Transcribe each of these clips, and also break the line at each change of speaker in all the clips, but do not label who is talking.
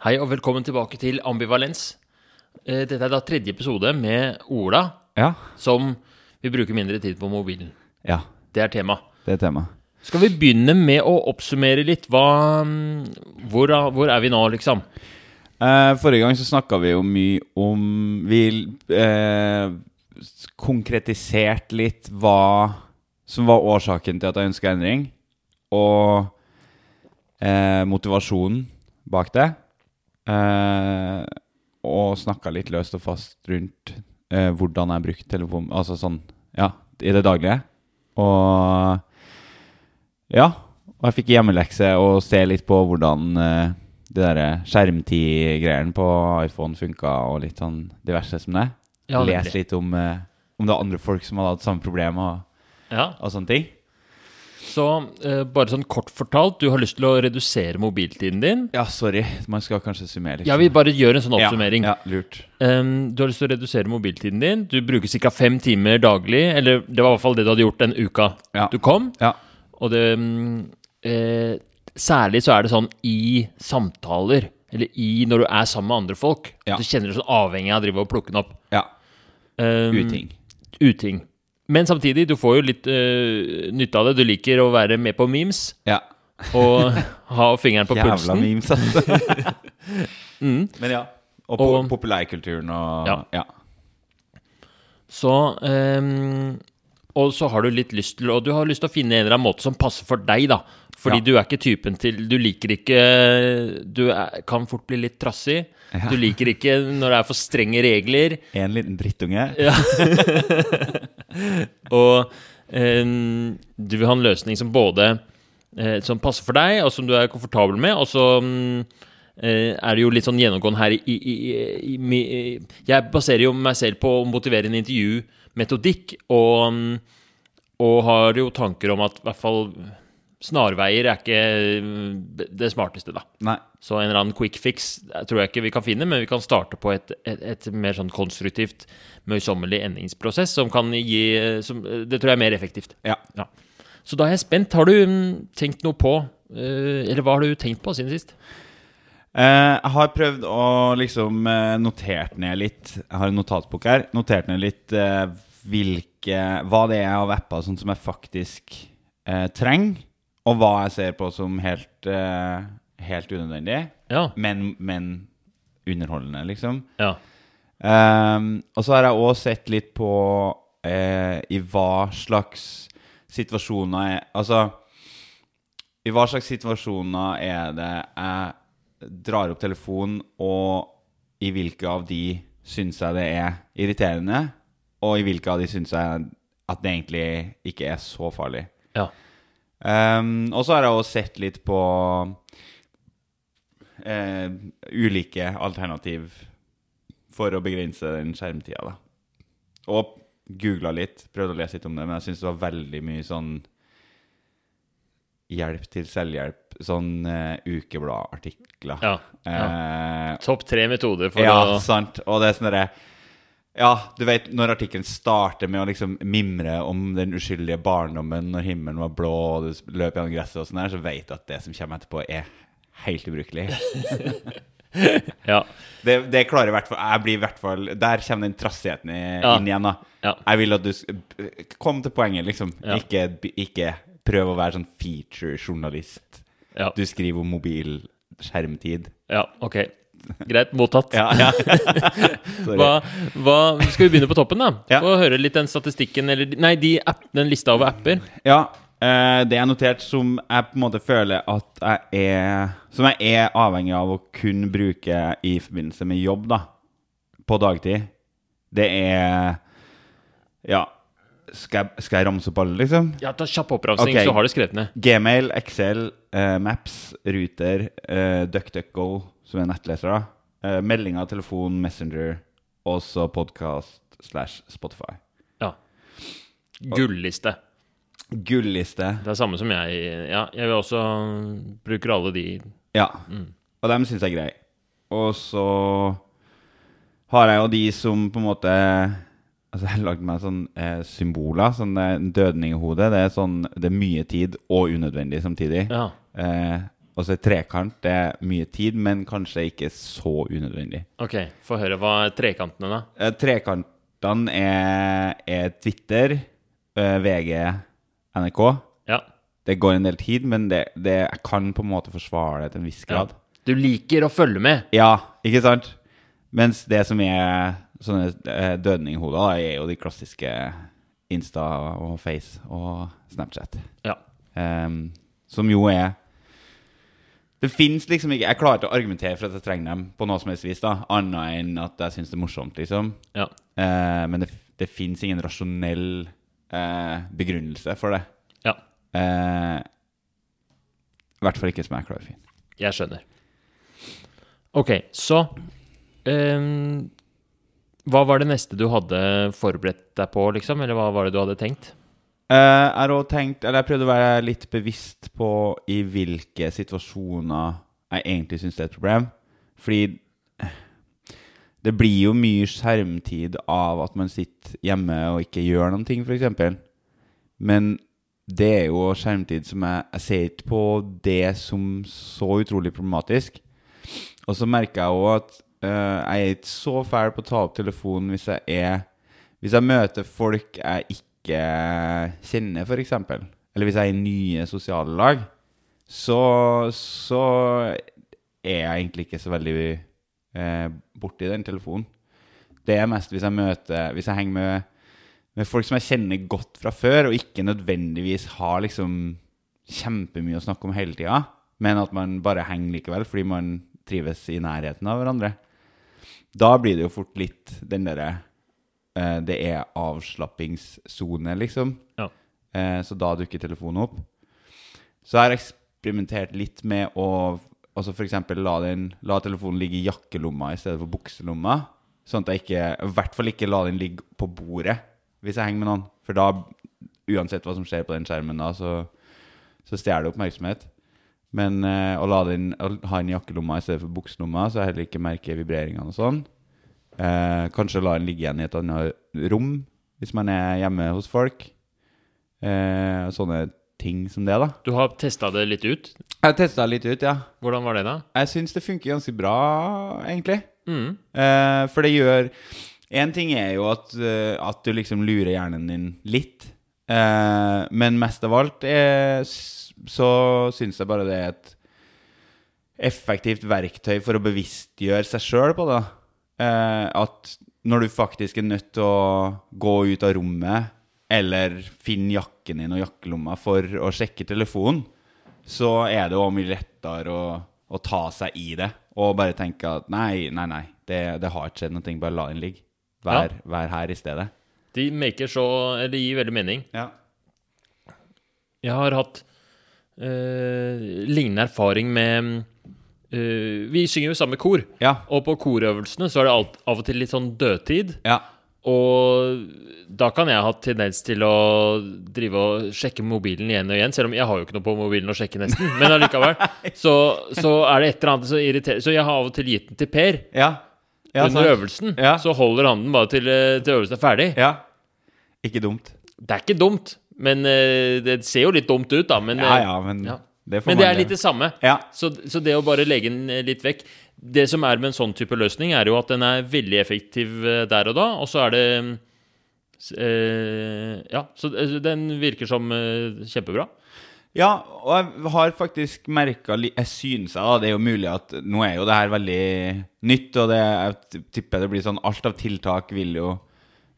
Hei og velkommen tilbake til Ambivalens. Eh, Dette er da tredje episode med Ola,
Ja.
som vi bruker mindre tid på mobilen.
ja.
Det er tema.
Det er temaet.
Skal vi begynne med å oppsummere litt? Hva, mm, hvor, er- hvor er vi nå, liksom?
Eh, forrige gang så snakka vi jo mye om Vi eh, s- konkretiserte litt hva som var årsaken til at jeg ønska endring, og eh, motivasjonen bak det. Eh, og snakka litt løst og fast rundt eh, hvordan jeg brukte telefon Altså sånn, ja, i det daglige. Og ja. Og jeg fikk hjemmelekse og se litt på hvordan eh, det derre skjermtid-greiene på iPhone funka, og litt sånn diverse som det.
Ja, nemlig.
Les litt om, eh, om det var andre folk som hadde hatt samme problem og,
Ja,
og sånne ting.
Så eh, bare sånn kort fortalt, du har lyst til å redusere mobiltiden din.
Ja, sorry. Man skal kanskje summere litt.
Ja, vi bare gjør en sånn oppsummering.
Ja, ja, lurt.
Ehm, du har lyst til å redusere mobiltiden din. Du bruker ca. fem timer daglig. Eller det var i hvert fall det du hadde gjort den uka
Ja.
du kom.
Ja.
Og det mm, eh, Særlig så er det sånn i samtaler, eller i når du er sammen med andre folk.
Ja.
Du kjenner deg sånn avhengig av å drive og plukke den opp.
ja.
Um,
Uting.
Uting. Men samtidig, du får jo litt eh, nytte av det. Du liker å være med på memes
Ja.
og ha fingeren på
Jævla
pulsen. Mm.
memes, altså. Men ja. Og, po
Og-
populærkulturen og
Ja.
ja.
Så ehm, Og så har du litt lyst til Og du har lyst til å finne en eller annen måte som passer for deg, da. Fordi
Ja.
du er ikke typen til Du liker ikke Du er, kan fort bli litt trassig. Du liker ikke når det er for strenge regler.
En liten drittunge.
Og ehm, du vil ha en løsning som både eh, Som passer for deg, og som du er komfortabel med, og så mm, eh, er det jo litt sånn gjennomgående her i, i, i, i, mi- Jeg baserer jo meg selv på å motivere en intervjumetodikk, og, mm, og har jo tanker om at i hvert fall snarveier er ikke mm, det smarteste, da.
Nei.
Så en eller annen quick fix eh, tror jeg ikke vi kan finne, men vi kan starte på et, et, et mer sånn konstruktivt, møysommelig endringsprosess som kan gi eh, som, eh, Det tror jeg er mer effektivt.
Ja.
Så da er jeg spent. Har du mm, tenkt noe på eh, Eller hva har du tenkt på siden sist?
Eh, Jeg har prøvd å liksom eh, notert ned litt Jeg har en notatbok her. Notert ned litt eh, hvilke, hva det er av apper sånn som jeg faktisk eh, trenger, og hva jeg ser på som helt, eh, helt unødvendig,
Ja.
men, men underholdende, liksom.
ja.
Ehm, og så har jeg òg sett litt på eh, i hva slags situasjoner jeg, Altså I hva slags situasjoner er det jeg drar opp telefonen, og i hvilke av de syns jeg det er irriterende, og i hvilke av de syns jeg at det egentlig ikke er så farlig.
ja.
Ehm, og så har jeg også sett litt på eh, ulike alternativ for å begrense den skjermtida, da. Og googla litt, prøvde å lese litt om det, men jeg syns det var veldig mye sånn hjelp til selvhjelp, sånn eh, ukebladartikler.
ja.
Eh,
Topp tre metoder for
ja,
å
sant. Og det er sånn derre Ja, du vet når artikkelen starter med å liksom mimre om den uskyldige barndommen når himmelen var blå og du s- løp gjennom gresset og sånn der, så vet du at det som kommer etterpå, er helt ubrukelig.
Ja.
Det, det klarer i hvert fall Jeg blir i hvert fall Der kommer den trassigheten i,
Ja.
inn igjen, da.
Ja.
Jeg vil at du s- Kom til poenget, liksom.
Ja.
Ikke, ikke prøv å være sånn feature-journalist.
Ja.
Du skriver om mobilskjermtid.
ja. Ok. Greit. Mottatt.
Ja, ja. Sorry.
Hva, hva, skal vi begynne på toppen, da?
Ja.
Få høre litt den statistikken, eller Nei, de app, den lista over apper.
Ja, eh, det er notert som jeg på en måte føler at jeg er Som jeg er avhengig av å kun bruke i forbindelse med jobb, da. På dagtid. Det er Ja. Skal jeg, skal jeg ramse opp alle, liksom?
Ja, Ta kjapp oppramsing,
Ok.
så har du skrevet ned.
Gmail, Excel, eh, Maps, Ruter, eh, DuckDuckGo, som er nettlesere. Eh, meldinger, telefon, Messenger, og så podkast slash Spotify.
Ja. Gulliste.
Gulliste.
Det er samme som jeg Ja, jeg vil også mm, bruker alle de
Ja. Og dem syns jeg er grei. Og så har jeg jo de som på en måte Altså, jeg har lagd meg sånne eh, symboler. Sånn eh, en dødning i hodet. Det er sånn Det er mye tid og unødvendig samtidig.
Ja.
Eh, og Altså et trekant det er mye tid, men kanskje ikke så unødvendig.
Ok, få høre hva er trekantene da.
Eh, Trekantene er, er Twitter, eh, VG, NRK.
Ja.
Det går en del tid, men det, det jeg kan på en måte forsvare det til en viss grad.
Du liker å følge med.
Ja, ikke sant? Mens det som er sånne eh, dødninghoder, da, er jo de klassiske Insta og Face og Snapchat.
Ja.
Ehm, som jo er Det fins liksom ikke Jeg klarer ikke å argumentere for at jeg trenger dem på noe som helst vis, da, annet enn at jeg syns det er morsomt, liksom.
Ja.
Eh, men det, det fins ingen rasjonell eh, begrunnelse for det.
ja.
Eh, I hvert fall ikke som jeg klarer å finne.
Jeg skjønner. Ok, så ehm, Hva var det neste du hadde forberedt deg på, liksom? Eller hva var det du hadde tenkt?
Eh, jeg har også tenkt, eller jeg prøvde å være litt bevisst på i hvilke situasjoner jeg egentlig syns det er et problem. Fordi det blir jo mye skjermtid av at man sitter hjemme og ikke gjør noen ting, f.eks. Men det er jo skjermtid som jeg, jeg ser ikke på det som så utrolig problematisk. Og så merker jeg òg at eh, jeg er ikke så fæl på å ta opp telefonen hvis jeg er Hvis jeg møter folk jeg ikke kjenner, f.eks., eller hvis jeg er i nye sosiale lag, så, så er jeg egentlig ikke så veldig eh, borti den telefonen. Det er mest hvis jeg møter Hvis jeg henger med, med folk som jeg kjenner godt fra før, og ikke nødvendigvis har liksom kjempemye å snakke om hele tida, men at man bare henger likevel fordi man trives i nærheten av hverandre. Da blir det jo fort litt den derre eh, Det er avslappingssone, liksom.
Ja.
Eh, så da dukker telefonen opp. Så jeg har eksperimentert litt med å altså for eksempel la, den, la telefonen ligge i jakkelomma i stedet for bukselomma. Sånn at jeg ikke, i hvert fall ikke la den ligge på bordet hvis jeg henger med noen. For da, uansett hva som skjer på den skjermen da, så, så stjeler det oppmerksomhet. Men eh, å, la den, å ha den i jakkelomma i stedet for bukselomma, så jeg heller ikke merker vibreringene og sånn. Eh, kanskje la den ligge igjen i et annet rom hvis man er hjemme hos folk. Eh, sånne ting som det, da.
Du har testa det litt ut.
Jeg testa litt ut, ja.
Hvordan var det, da?
Jeg syns det funker ganske bra, egentlig.
Mm.
Eh, for det gjør En ting er jo at, eh, at du liksom lurer hjernen din litt. Eh, men mest av alt eh, s- så syns jeg bare det er et effektivt verktøy for å bevisstgjøre seg sjøl på det. Eh, at når du faktisk er nødt til å gå ut av rommet eller finne jakken din og jakkelomma for å sjekke telefonen, så er det òg mye lettere å, å ta seg i det og bare tenke at nei, nei, nei, det, det har ikke skjedd noe, bare la den ligge. Vær, vær her i stedet.
De maker så eller Det gir veldig mening.
Ja.
Jeg har hatt eh, lignende erfaring med eh, Vi synger jo i samme kor,
Ja.
og på korøvelsene så er det alt, av og til litt sånn dødtid.
ja.
Og da kan jeg ha tendens til å drive og sjekke mobilen igjen og igjen, selv om jeg har jo ikke noe på mobilen å sjekke, nesten. Men allikevel. Så, så er det et eller annet som irriterer Så jeg har av og til gitt den til Per
Ja. Ja,
under
sant.
øvelsen.
Ja.
Så holder han den bare til, eh, til øvelsen er ferdig.
ja. Ikke dumt.
Det er ikke dumt, men eh, det ser jo litt dumt ut, da. Men, eh,
Ja, ja, men
ja.
det får
men det
man
er litt det samme.
Ja.
Så, så det å bare legge den eh, litt vekk Det som er med en sånn type løsning, er jo at den er veldig effektiv eh, der og da, og så er det mm, s- eh, Ja, så eh, den virker som eh, kjempebra.
Ja, og jeg har faktisk merka Jeg syns jeg, da. Det er jo mulig at Nå er jo det her veldig nytt, og det, jeg tipper det blir sånn Alt av tiltak vil jo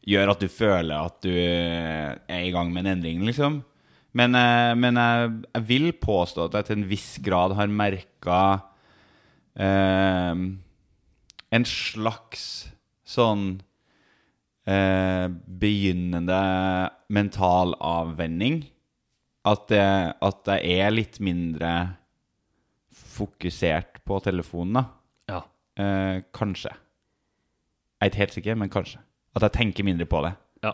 gjøre at du føler at du eh, er i gang med en endring, liksom. Men, eh, men jeg, jeg vil påstå at jeg til en viss grad har merka eh, en slags sånn eh, begynnende mental avvenning at, det, at jeg er litt mindre fokusert på telefonen, da.
Ja.
Eh, kanskje. Jeg er ikke helt sikker, men kanskje. At jeg tenker mindre på det.
ja.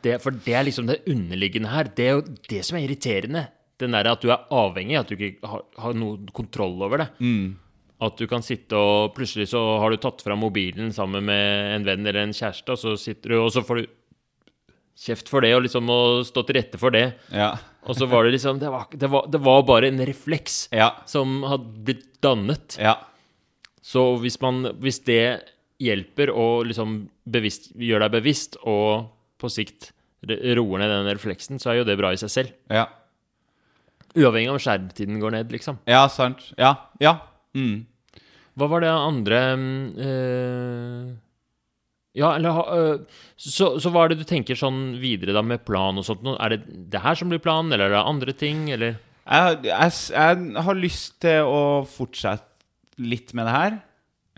Det, for det er liksom det underliggende her. Det er jo det som er irriterende. Den der at du er avhengig, at du ikke har, har noen kontroll over det. At du kan sitte og plutselig så har du tatt fra mobilen sammen med en venn eller en kjæreste, og så sitter du, og så får du kjeft for det, og liksom må stå til rette for det.
Ja.
Og så var det liksom Det var, det var, det var bare en refleks
Ja.
som hadde blitt dannet.
ja.
Så hvis, man, hvis det hjelper å liksom bevisst, gjør deg bevisst, og på sikt re- roer ned den refleksen, så er jo det bra i seg selv.
Ja,
Uavhengig av om skjermtiden går ned, liksom.
ja sant. Ja. Ja. Mm.
Hva var det andre mm, eh, Ja, eller ha- eh, så, så hva er det du tenker sånn videre da med plan og sånt? nå? Er det det her som blir planen, eller er det andre ting, eller
Jeg, jeg, s- jeg har lyst til å fortsette litt med det her.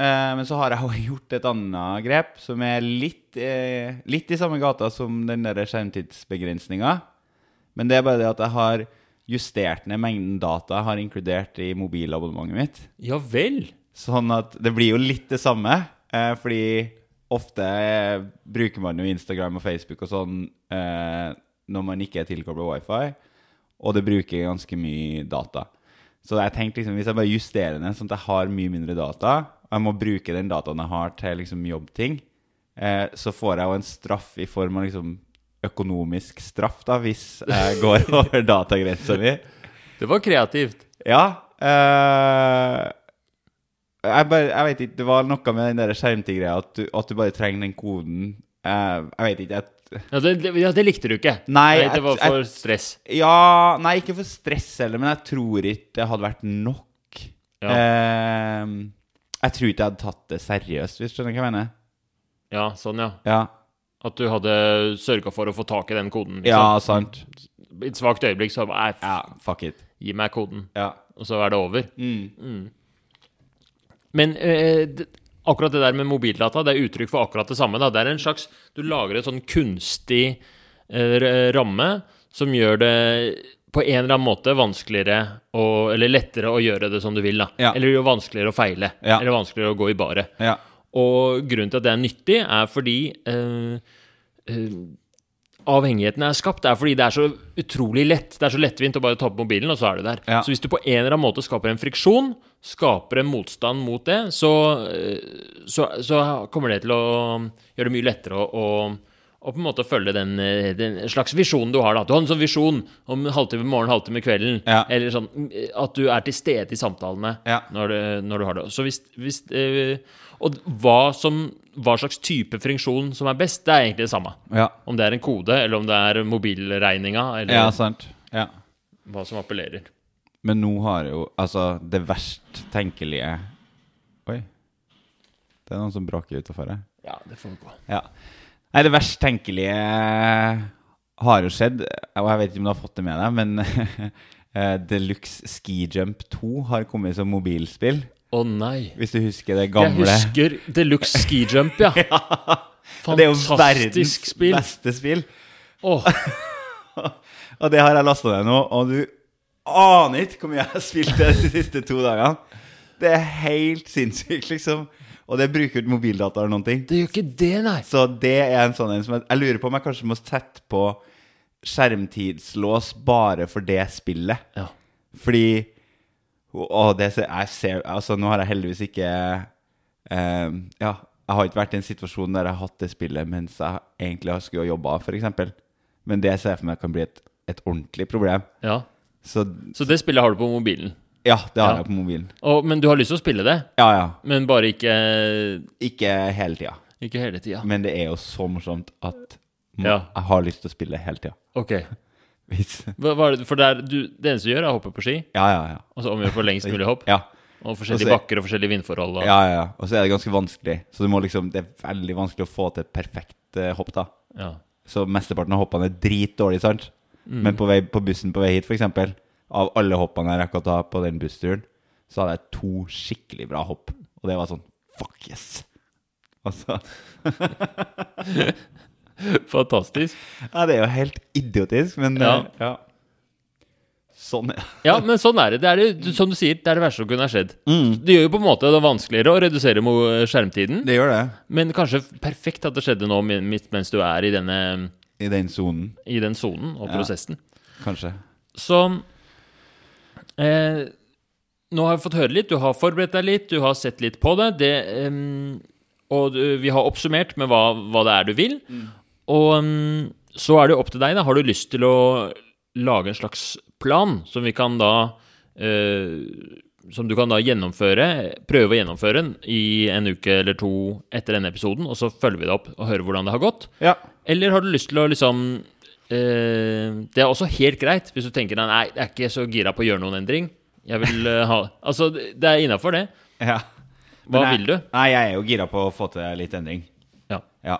Eh, men så har jeg jo gjort et annet grep som er litt, eh, litt i samme gata som den der skjermtidsbegrensninga. Men det er bare det at jeg har justert ned mengden data jeg har inkludert i mobilabonnementet mitt.
Ja vel!
Sånn at det blir jo litt det samme, eh, fordi ofte eh, bruker man jo Instagram og Facebook og sånn eh, når man ikke er tilkoblet wifi, og det bruker ganske mye data. Så jeg tenkte liksom, hvis jeg bare justerer den sånn at jeg har mye mindre data, og jeg må bruke den dataen jeg har til liksom jobbting, eh, så får jeg jo en straff i form av liksom økonomisk straff da, hvis jeg går over datagrensa mi.
Det var kreativt.
Ja. eh, jeg, bare, jeg vet ikke, det var noe med den der skjermtid-greia at, du- at du bare trenger den koden. Eh, jeg vet ikke. Jeg,
Ja, det, det, ja, det likte du ikke.
Nei,
det
jeg-
var
jeg-
for stress.
ja Nei, ikke for stress heller, men jeg tror ikke det hadde vært nok.
Ja.
Eh, jeg tror ikke jeg hadde tatt det seriøst, hvis du skjønner hva jeg mener.
Ja, sånn, ja.
Ja,
At du hadde sørga for å få tak i den koden.
ja sant.
I et svakt øyeblikk så bare "Nei,
Ja, fuck it.
Gi meg koden,
Ja.
og så er det over.
Mm.
Men eh, det, akkurat det der med mobildata, det er uttrykk for akkurat det samme. Da. Det er en slags Du lager et sånn kunstig eh, r- ramme som gjør det på en eller annen måte vanskeligere å Eller lettere å gjøre det som du vil, da.
Ja.
Eller jo vanskeligere å feile.
Ja.
Eller vanskeligere å gå i baret.
Ja.
Og grunnen til at det er nyttig, er fordi eh, eh, avhengigheten er skapt. Det er fordi det er så utrolig lett. Det er så lettvint å bare ta på mobilen, og så er du der.
Ja.
Så hvis du på en eller annen måte skaper en friksjon, skaper en motstand mot det, så, eh, så, så kommer det til å gjøre det mye lettere å, å, å på en måte følge den, eh, den slags visjonen du har. Da. Du har en sånn visjon om en halvtime morgen, halvtime kvelden,
Ja.
eller sånn mm, at du er til stede i samtalene
Ja.
når, det, når du har det. Så hvis, hvis eh, Og hva, som, hva slags type funksjon som er best, det er egentlig det samme.
Ja.
Om det er en kode, eller om det er mobilregninga, eller
ja, sant. Ja.
hva som appellerer.
Men nå har jeg jo altså det verst tenkelige Oi. Det er noen som braker utafor her.
Ja, det får gå.
Ja. Nei, det verst tenkelige har jo skjedd, og jeg vet ikke om du har fått det med deg, men eh, Deluxe Ski Jump 2 har kommet som mobilspill.
Å nei.
Hvis du husker det
Jeg
gamle
husker Deluxe Ski Jump, ja.
Det er jo verdens
Fantastisk spill.
beste spill.
Åh,
Og det har jeg lasta ned nå, og du aner ikke hvor mye jeg har spilt det de siste to dagene. Det er helt sinnssykt, liksom. Og det bruker ikke mobildata eller noen ting.
det gjør ikke det, nei.
Så det er en sånn en som jeg, jeg lurer på om jeg kanskje må sette på skjermtidslås bare for det spillet.
Ja.
Fordi Å, det ser, jeg ser Altså, nå har jeg heldigvis ikke eh, Ja, jeg har ikke vært i en situasjon der jeg har hatt det spillet mens jeg egentlig har skulle ha jobba, f.eks. Men det ser jeg for meg kan bli et, et ordentlig problem.
ja.
Så
Så det spillet har du på mobilen.
ja, det har
Ja.
jeg på mobilen.
Å, men du har lyst til å spille det,
Ja, ja.
men bare ikke,
Ikke hele tida.
ikke hele tida.
Men det er jo så morsomt at må,
Ja.
jeg har lyst til å spille hele tida.
Ok.
Hvis
Hva, hva er det, for det, er, du, det eneste du gjør, er å hoppe på ski,
Ja, ja, ja.
og så omgjør for lengst mulig hopp,
Ja,
og forskjellige
Og så-
bakker og forskjellige vindforhold. Og,
ja, ja, ja. Og så er det ganske vanskelig. Så du må liksom, det er veldig vanskelig å få til et perfekt eh, hopp. da
Ja.
Så mesteparten av hoppene er dritdårlige, sant?
Mm.
Men på, vei, på bussen på vei hit, f.eks., av alle hoppene jeg rakk å ta på den bussturen, så hadde jeg to skikkelig bra hopp. Og det var sånn Fuck yes! Altså,
Fantastisk.
ja, Det er jo helt idiotisk, men eh,
Ja.
ja. Sånn, ja.
Ja, men sånn er det. det, er det som du sier, det er det verste som kunne ha skjedd.
Mm.
Det gjør jo på en måte det vanskeligere å redusere mo- skjermtiden,
Det gjør det.
men kanskje perfekt at det skjedde nå mi- midt mens du er i, denne,
I den sonen,
i den sonen og
Ja.
prosessen.
kanskje.
Så eh, Nå har vi fått høre litt. Du har forberedt deg litt, du har sett litt på det. det em, og du, vi har oppsummert med hva, hva det er du vil. Og em, så er det jo opp til deg. da Har du lyst til å lage en slags plan som vi kan da eh, Som du kan da gjennomføre, prøve å gjennomføre den i en uke eller to etter denne episoden, og så følger vi det opp og hører hvordan det har gått.
Ja.
Eller har du lyst til å liksom eh, Det er også helt greit hvis du tenker deg nei, jeg er ikke så gira på å gjøre noen endring. Jeg vil eh, ha Altså, det er innafor, det.
ja.
Hva
Men jeg-
vil du?
Nei, jeg er jo gira på å få til litt endring.
Ja.
Ja.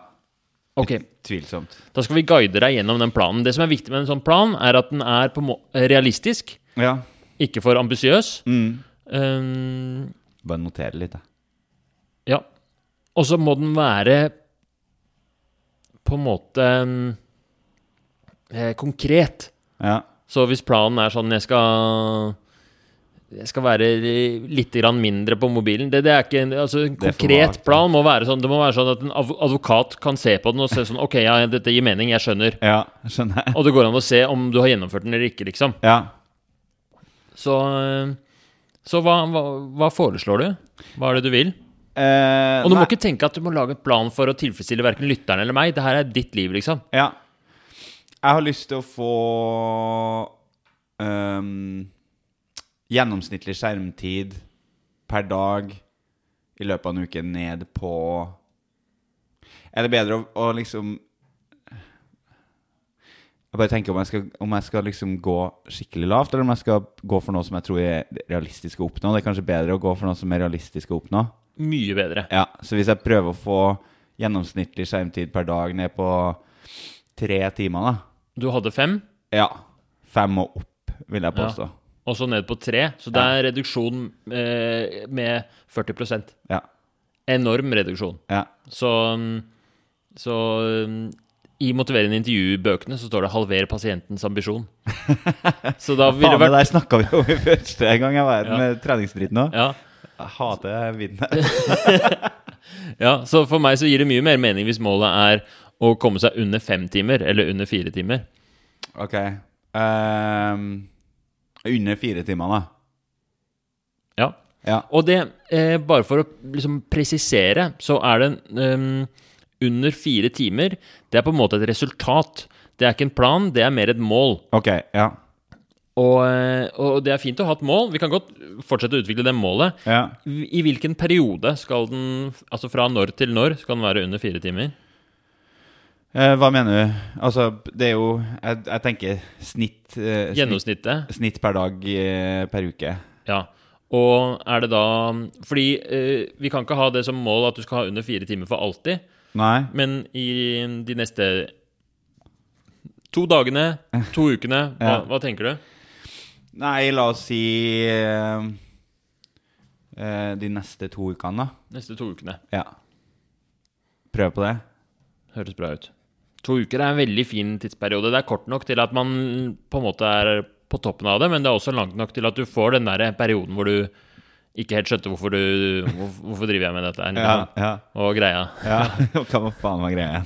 Ok,
Tvilsomt.
Da skal vi guide deg gjennom den planen. Det som er viktig med en sånn plan, er at den er på må realistisk,
Ja.
ikke for ambisiøs.
Mm.
Um,
Bare notere litt, jeg.
ja. Og så må den være på en måte um, eh, konkret.
Ja.
Så hvis planen er sånn Jeg skal, jeg skal være litt grann mindre på mobilen Det, det er ikke en altså, en
Det er for
konkret
vagt, ja.
plan. Må være sånn, det må være sånn at en adv- advokat kan se på den og se sånn Ok, ja, dette gir mening. Jeg skjønner.
ja. Skjønner jeg.
Og det går an å se om du har gjennomført den eller ikke, liksom.
Ja.
Så, eh, så hva, hva, hva foreslår du? Hva er det du vil?
Eh,
Og du må
nei.
ikke tenke at du må lage en plan for å tilfredsstille verken lytteren eller meg. Det her er ditt liv, liksom.
Ja. Jeg har lyst til å få ehm, gjennomsnittlig skjermtid per dag i løpet av en uke ned på Er det bedre å, å liksom Jeg bare tenker om jeg, skal, om jeg skal liksom gå skikkelig lavt, eller om jeg skal gå for noe som jeg tror er realistisk å oppnå. Det er kanskje bedre å gå for noe som er realistisk å oppnå.
Mye bedre.
Ja, så hvis jeg prøver å få gjennomsnittlig skjermtid per dag ned på tre timer, da
Du hadde fem,
Ja. Fem og opp, vil jeg
Ja.
påstå.
og så ned på tre. Så det er reduksjon eh, med 40
Ja.
Enorm reduksjon.
ja.
Så, mm, så mm, i motiverende intervjubøkene så står det 'halver pasientens ambisjon'. Så da ville det
Faen, det
vært
der snakka vi om i første gang jeg var her
Ja.
med treningsdriten òg.
ja,
Jeg hater vinden her.
ja, så for meg så gir det mye mer mening hvis målet er å komme seg under fem timer, eller under fire timer.
Ok. ehm, under fire timer, da.
Ja.
Ja.
Og det, eh, bare for å liksom presisere, så er det ehm, under fire timer Det er på en måte et resultat. Det er ikke en plan, det er mer et mål.
Ok, ja.
Og, eh, og det er fint å ha et mål. Vi kan godt fortsette å utvikle det målet.
ja.
I hvilken periode skal den Altså fra når til når skal den være under fire timer?
Eh, hva mener du? Altså, det er jo Jeg, jeg tenker snitt, eh, snitt
Gjennomsnittet?
Snitt per dag eh, per uke.
Ja. Og er det da Fordi eh, vi kan ikke ha det som mål at du skal ha under fire timer for alltid.
Nei?
Men i de neste to dagene, to ukene, hva,
Ja.
hva tenker du?
Nei, la oss si eh, eh, de neste to ukene, da.
Neste to ukene.
Ja. Prøve på det?
Høres bra ut. To uker er en veldig fin tidsperiode. Det er kort nok til at man på en måte er på toppen av det, men det er også langt nok til at du får den der perioden hvor du ikke helt skjønte hvorfor du hvor- Hvorfor driver jeg med dette her?
ja. Mm.
Og greia.
ja. Hva faen var greia?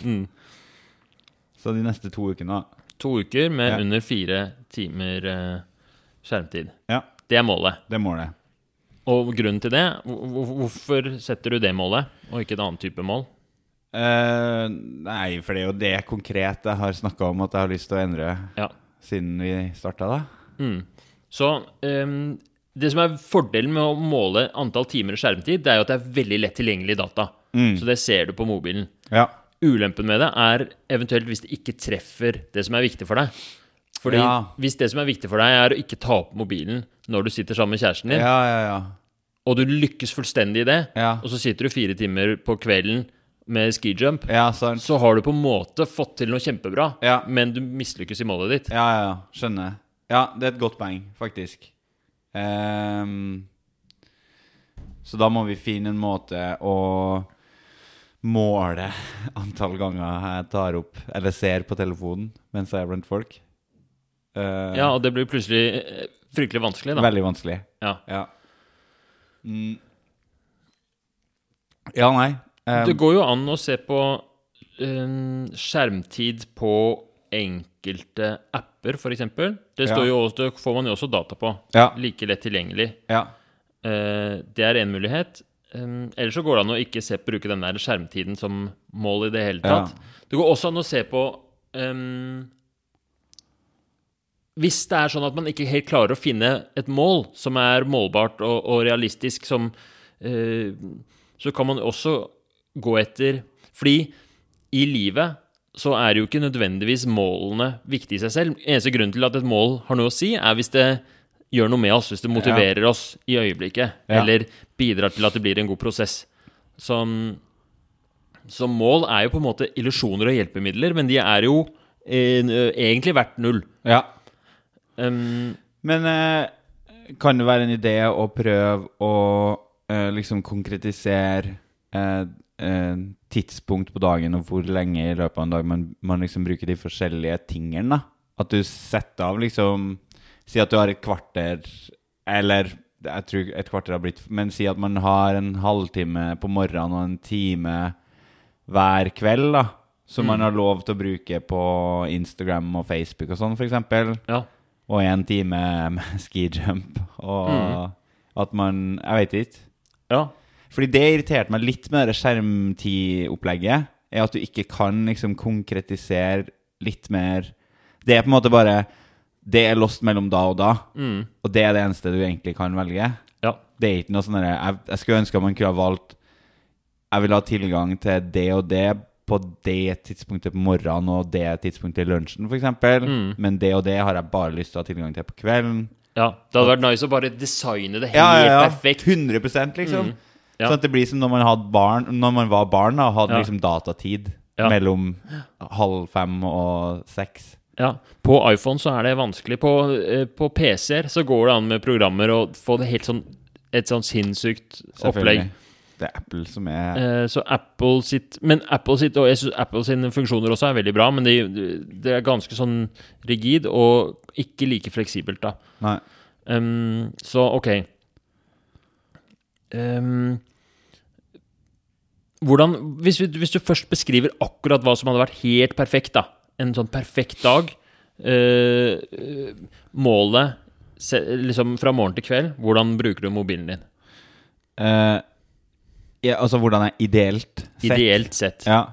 Så de neste to ukene, da.
To uker med
Ja.
under fire timer eh, skjermtid.
Ja,
Det er målet.
det målet.
Og grunnen til det, hvor- hvor- hvorfor setter du det målet, og ikke et annet type mål?
Eh, nei, for det er jo det konkret jeg har snakka om at jeg har lyst til å endre
Ja.
siden vi starta, da.
Mm. Så ehm, det som er fordelen med å måle antall timer skjermtid, det er jo at det er veldig lett tilgjengelig data.
Mm.
Så det ser du på mobilen.
Ja.
Ulempen med det er eventuelt hvis det ikke treffer det som er viktig for deg. Fordi
Ja.
hvis det som er viktig for deg, er å ikke ta opp mobilen når du sitter sammen med kjæresten din,
Ja, ja, ja.
og du lykkes fullstendig i det,
Ja,
og så sitter du fire timer på kvelden med skijump,
ja sant.
så har du på en måte fått til noe kjempebra,
Ja.
men du mislykkes i målet ditt.
Ja, ja, ja. Skjønner. Ja, det er et godt poeng, faktisk. Ehm, så da må vi finne en måte å måle antall ganger jeg tar opp eller ser på telefonen mens jeg er blant folk. Eh,
Ja, og det blir plutselig eh, fryktelig vanskelig, da.
Veldig vanskelig.
Ja.
Ja, mm. ja nei. ehm,
Det går jo an å se på eh, skjermtid på enkelte apper, f.eks. Det står
Ja.
jo også, det får man jo også data på.
ja,
Like lett tilgjengelig.
ja.
Eh, det er én mulighet. Um, Eller så går det an å ikke se, bruke den der skjermtiden som mål i det hele
Ja.
tatt. Det går også an å se på um, ehm, hvis det er sånn at man ikke helt klarer å finne et mål som er målbart og, og realistisk, som, eh, så kan man også gå etter Fordi i livet så er jo ikke nødvendigvis målene viktige i seg selv. Eneste grunnen til at et mål har noe å si, er hvis det gjør noe med oss, hvis det motiverer oss i øyeblikket,
Ja.
eller bidrar til at det blir en god prosess. Som, så mål er jo på en måte illusjoner og hjelpemidler, men de er jo eh, egentlig verdt null.
Ja.
Um,
Men eh, kan det være en idé å prøve å eh, liksom konkretisere eh, eh, tidspunkt på dagen og hvor lenge i løpet av en dag man, man liksom bruker de forskjellige tingene? da? At du setter av liksom Si at du har et kvarter, eller jeg tror et kvarter har blitt Men si at man har en halvtime på morgenen og en time hver kveld, da. Som man har lov til å bruke på Instagram og Facebook og sånn, for eksempel
ja.
og en time med skijump. Og at man Jeg vet ikke.
ja.
Fordi det irriterte meg litt med det skjermtidopplegget, er at du ikke kan liksom konkretisere litt mer Det er på en måte bare Det er lost mellom da og da,
Mm.
og det er det eneste du egentlig kan velge.
Ja.
Det er ikke noe sånn derre jeg, jeg skulle ønske at man kunne ha valgt Jeg vil ha tilgang til det og det på det tidspunktet på morgenen og det tidspunktet i lunsjen, f.eks. eksempel
Mm.
Men det og det har jeg bare lyst til å ha tilgang til på kvelden.
ja. Det hadde vært nice å bare designe det helt
Ja, ja, ja.
perfekt. Mm.
100 liksom.
Ja.
Sånn at det blir som når man, hadde barn, når man var barn da, og hadde
Ja.
liksom datatid
Ja.
mellom halv fem og seks.
Ja. På iPhone så er det vanskelig. På, eh, på PC-er så går det an med programmer å få det helt sånn et sånn sinnssykt opplegg.
Selvfølgelig. Det er Apple som er
Eh, så Apple sitt Men Apple sitt og jeg synes Apple sine funksjoner også er veldig bra, men det de er ganske sånn rigid og ikke like fleksibelt, da.
Nei.
Ehm, så ok. Ehm, hvordan hvis, vi, hvis du først beskriver akkurat hva som hadde vært helt perfekt, da. En sånn perfekt dag. eh, eh, målet se, liksom fra morgen til kveld. Hvordan bruker du mobilen din?
Eh, ja, altså hvordan jeg ideelt sett
Ideelt sett.
Ja.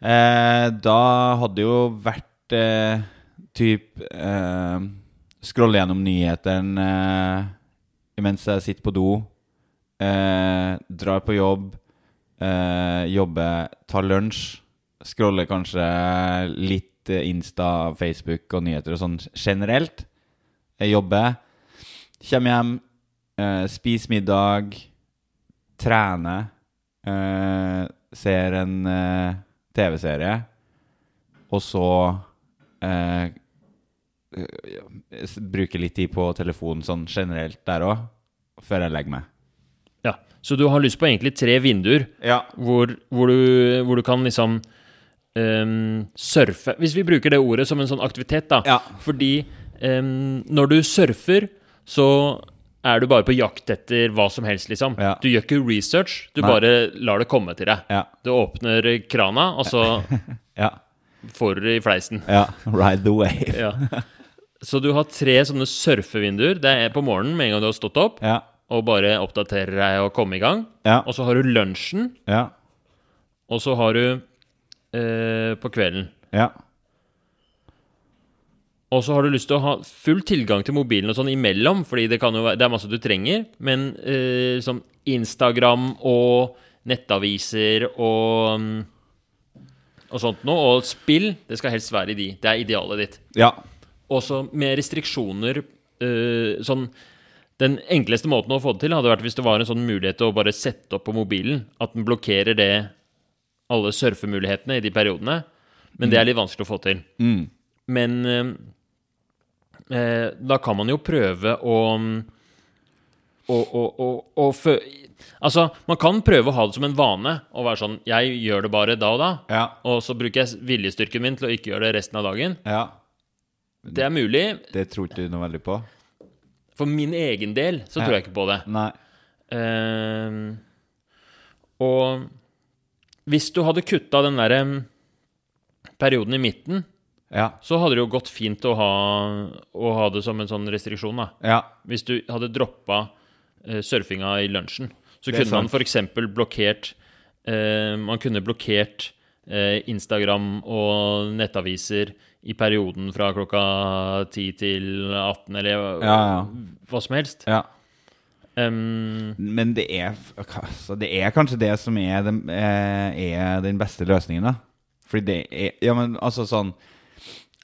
Eh, da hadde det jo vært eh, typ eh, Scrolle gjennom nyhetene eh, mens jeg sitter på do. Eh, drar på jobb. Eh, jobber, tar lunsj. Scroller kanskje litt eh, Insta, Facebook og nyheter og sånn generelt. Jeg jobber. Kommer hjem, eh, spiser middag, trener. Eh, ser en eh, TV-serie, og så eh, ja, s- bruker litt tid på telefonen sånn generelt der òg, før jeg legger meg.
Ja. Så du har lyst på egentlig tre vinduer
Ja.
hvor, hvor, du, hvor du kan liksom ehm, surfe Hvis vi bruker det ordet som en sånn aktivitet, da.
Ja.
Fordi em, når du surfer, så er du bare på jakt etter hva som helst, liksom.
Ja.
Du gjør ikke research, du
Nei.
bare lar det komme til deg.
Ja.
Du åpner krana, og så
ja.
får du det i fleisen.
Ride the wave.
Ja. Så du har tre sånne surfevinduer. Det er på morgenen med en gang du har stått opp,
Ja.
og bare oppdaterer deg og komme i gang.
Ja.
Og så har du lunsjen,
Ja.
og så har du eh, på kvelden.
Ja.
Og så har du lyst til å ha full tilgang til mobilen og sånn imellom, fordi det, kan jo være, det er masse du trenger, men eh, som Instagram og nettaviser og mm, og sånt noe, og spill, det skal helst være i de. Det er idealet ditt.
Ja.
Også med restriksjoner eh, sånn Den enkleste måten å få det til hadde vært hvis det var en sånn mulighet til å bare sette opp på mobilen at den blokkerer det alle surfemulighetene i de periodene. Men det er litt vanskelig å få til.
Mm.
Men eh, eh, da kan man jo prøve å å, å, å, å fø... Altså, man kan prøve å ha det som en vane og være sånn Jeg gjør det bare da og da,
Ja.
og så bruker jeg viljestyrken min til å ikke gjøre det resten av dagen.
Ja.
Det er mulig.
Det tror ikke du noe veldig på?
For min egen del så tror
Ja.
jeg ikke på det.
Nei.
Ehm, og hvis du hadde kutta den derre perioden i midten,
Ja.
så hadde det jo gått fint å ha, å ha det som en sånn restriksjon, da.
Ja.
Hvis du hadde droppa eh, surfinga i lunsjen, så
Det er
kunne man f.eks. blokkert eh, Man kunne blokkert eh, Instagram og nettaviser i perioden fra klokka 10 til 18, eller
Ja, ja.
hva som helst.
Ja.
Em,
Men det er, altså, det er kanskje det som er den, eh, er den beste løsningen, da. Fordi det er Ja, men altså sånn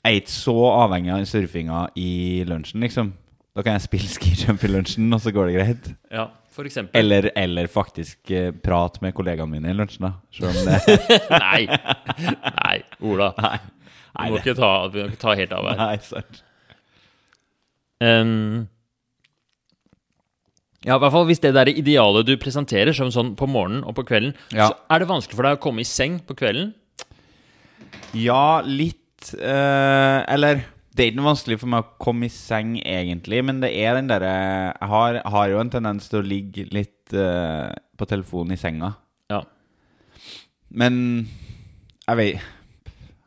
Jeg er ikke så avhengig av den surfinga i lunsjen, liksom. Da kan jeg spille skijump i lunsjen, og så går det greit.
ja, for eksempel.
Eller, eller faktisk eh, prate med kollegaene mine i lunsjen, da. Selv om det
Nei. Nei, Ola.
Nei.
Du
Nei,
må
det,
ikke ta, du må ikke ta helt av her.
nei sant.
Ehm, ja, i hvert fall hvis det der idealet du presenterer som sånn på morgenen og på kvelden,
Ja.
så er det vanskelig for deg å komme i seng på kvelden.
Ja, litt eh, Eller det er ikke noe vanskelig for meg å komme i seng, egentlig, men det er den derre Jeg har, har jo en tendens til å ligge litt eh, på telefonen i senga.
Ja.
Men jeg vet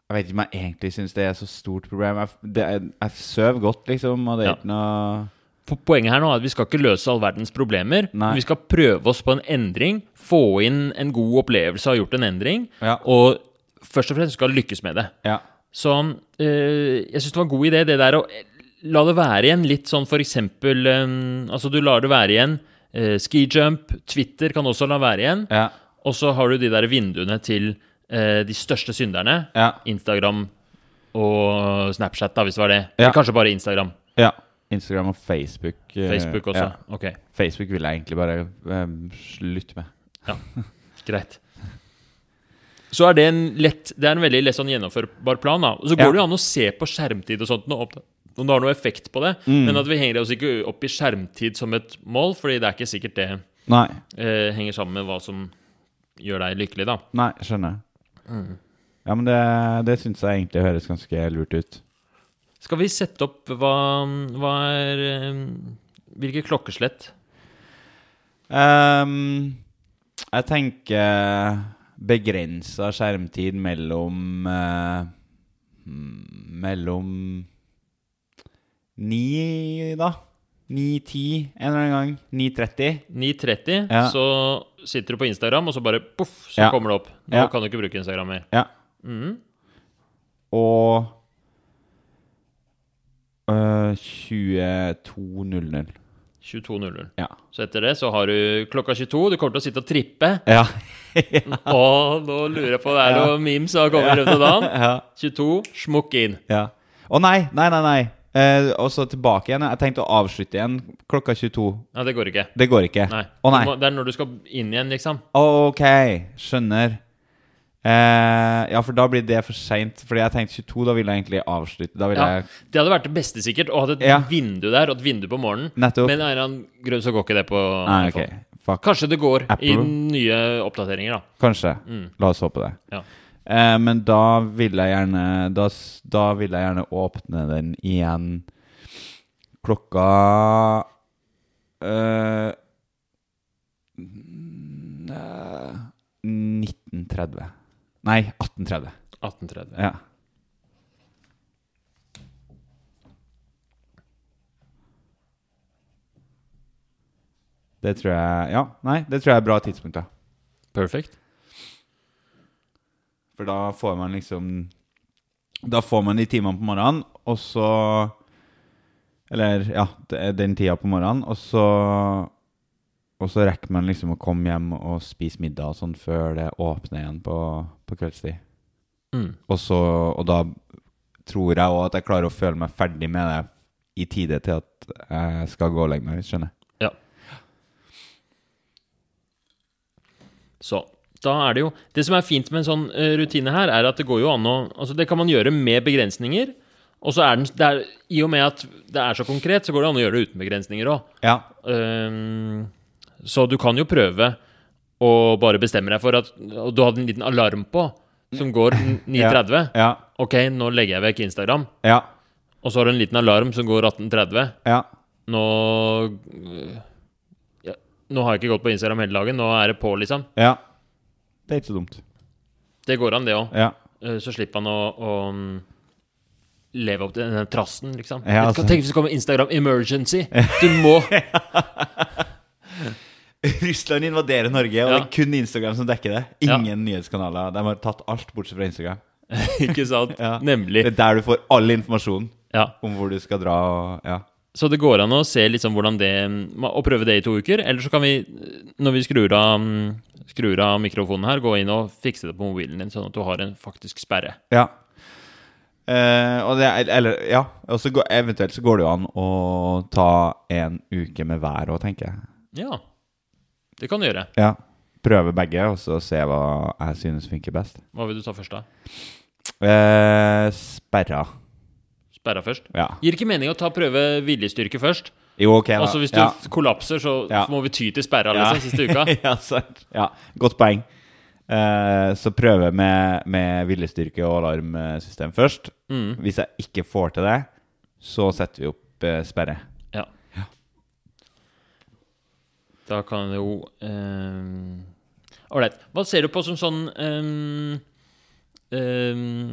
Jeg vet ikke om jeg egentlig syns det er så stort problem. Jeg, f- det, er- jeg sover godt, liksom, og det er
Ja.
ikke noe
Po- Poenget her nå er at vi skal ikke løse all verdens problemer,
Nei.
men vi skal prøve oss på en endring, få inn en god opplevelse av å ha gjort en endring,
Ja.
og først og fremst skal lykkes med det.
Ja.
Så eh, jeg syns det var en god idé, det der å eh, la det være igjen. Litt sånn for eksempel eh, Altså, du lar det være igjen. Uh, Skijump, Twitter kan også la være igjen.
Ja.
Og så har du de der vinduene til eh, de største synderne.
Ja.
Instagram og Snapchat, da, hvis det var det.
Ja.
Eller Kanskje bare Instagram.
ja. Instagram og Facebook. eh,
Facebook også.
Ja.
Ok,
Facebook vil jeg egentlig bare eh, slutte med.
greit. Så er det en lett Det er en veldig lett sånn gjennomførbar plan. da Og Så går
Ja.
det jo an å se på skjermtid og sånt nå, opp- om det har noe effekt på det.
Mm.
Men at vi henger oss ikke opp i skjermtid som et mål, fordi det er ikke sikkert det
Nei.
eh, henger sammen med hva som gjør deg lykkelig, da.
Nei, skjønner. Ja, men det, det syns jeg egentlig høres ganske lurt ut.
Skal vi sette opp hva, hva er eh, Hvilke klokkeslett?
Ehm, jeg tenker begrensa skjermtid mellom eh, mm, Mellom ni, da. 9.10 en eller annen gang. 9.30.
9.30,
Ja.
så sitter du på Instagram, og så bare poff, så
Ja.
kommer det opp. Nå
Ja.
kan du ikke bruke Instagram mer.
Ja.
Mhm.
Og eh, 22.00.
22.00.
Ja.
Så etter det så har du klokka 22. Du kommer til å sitte og trippe.
Ja.
Å, nå lurer jeg på det er
Ja.
noe memes som har kommet i løpet av dagen.
ja.
22, smukk inn.
Ja. Å nei, nei, nei, nei. Eh, og så tilbake igjen. Jeg tenkte å avslutte igjen klokka 22.
Ja, det går ikke.
Det går ikke.
Nei.
Å nei.
Du Må, det er når du skal inn igjen, liksom.
Ok, skjønner. Eh, ja, for da blir det for seint. Fordi jeg tenkte 22, da ville jeg egentlig avslutte. Da ville
Ja.
jeg
Det hadde vært det beste, sikkert, å ha et
Ja.
vindu der, og et vindu på morgenen.
Nettopp.
Men av en eller annen grunn så går ikke det på
nei,
iPhone.
ok. Fuck.
Kanskje det går i
Apple.
nye oppdateringer, da. Mm.
Kanskje. La oss håpe det.
Ja.
Eh, men da vil jeg gjerne da, s- da vil jeg gjerne åpne den igjen klokka eh, mm, eh, 19.30. Nei, 18.30.
1830.
Ja. Det tror jeg Ja, nei, det tror jeg er et bra tidspunkt, da.
Perfect.
For da får man liksom Da får man de timene på morgenen, og så Eller ja, det er den tida på morgenen, og så Og så rekker man liksom å komme hjem og spise middag og sånn før det åpner igjen på, på kveldstid.
Mm.
Og så Og da tror jeg òg at jeg klarer å føle meg ferdig med det i tide til at jeg skal gå og legge meg, hvis du skjønner.
Ja. Så da er det jo Det som er fint med en sånn eh, rutine her, er at det går jo an å Altså, det kan man gjøre med begrensninger. Og så er den det er, I og med at det er så konkret, så går det an å gjøre det uten begrensninger òg.
Ja.
så du kan jo prøve å bare bestemme deg for at Og du hadde en liten alarm på som går 9.30.
Ja.
Ok, nå legger jeg vekk Instagram.
Ja.
Og så har du en liten alarm som går 18.30.
Ja.
Nå øh, ja, Nå har jeg ikke gått på Instagram hele dagen. Nå er det på, liksom.
ja. Det er ikke så dumt.
Det går an, det òg.
Ja.
Eh, Så slipper han å, å mm, leve opp til denne trassen, liksom.
Ja,
Vet du hva,
altså.
Tenk hvis det kommer Instagram emergency! Du må
Russland invaderer Norge, og
Ja.
det er kun Instagram som dekker det.
Ja.
Ingen nyhetskanaler. De har tatt alt bortsett fra Instagram.
Ikke sant?
Ja. Det
Nemlig.
er der du får all informasjon
Ja.
om hvor du skal dra. Og, ja.
Så det går an å se liksom hvordan det Å prøve det i to uker. Eller så kan vi, eh, når vi skrur av, mm, skrur av mikrofonen her, gå inn og fikse det på mobilen din, sånn at du har en faktisk sperre.
Ja. Eh, og det, er- eller, ja. Og så går, eventuelt så går det jo an å ta en uke med hver òg, tenker jeg.
Ja. Det kan du gjøre.
Ja. Prøve begge, og så se hva jeg synes funker best.
Hva vil du ta først, da?
Eh, sperra.
Sperra først?
Ja.
Gir ikke mening å ta prøve viljestyrke først.
Jo, ok, da.
Altså Hvis du
ja.
kollapser, så,
Ja.
så må vi ty til sperra
Ja.
liksom, siste uka.
ja, sant. Ja, godt poeng. Eh, så prøve med, med viljestyrke og alarmsystem først.
Mm.
Hvis jeg ikke får til det, så setter vi opp eh, sperre.
Ja. Da kan det jo ehm, Ålreit. Hva ser du på som sånn ehm, ehm,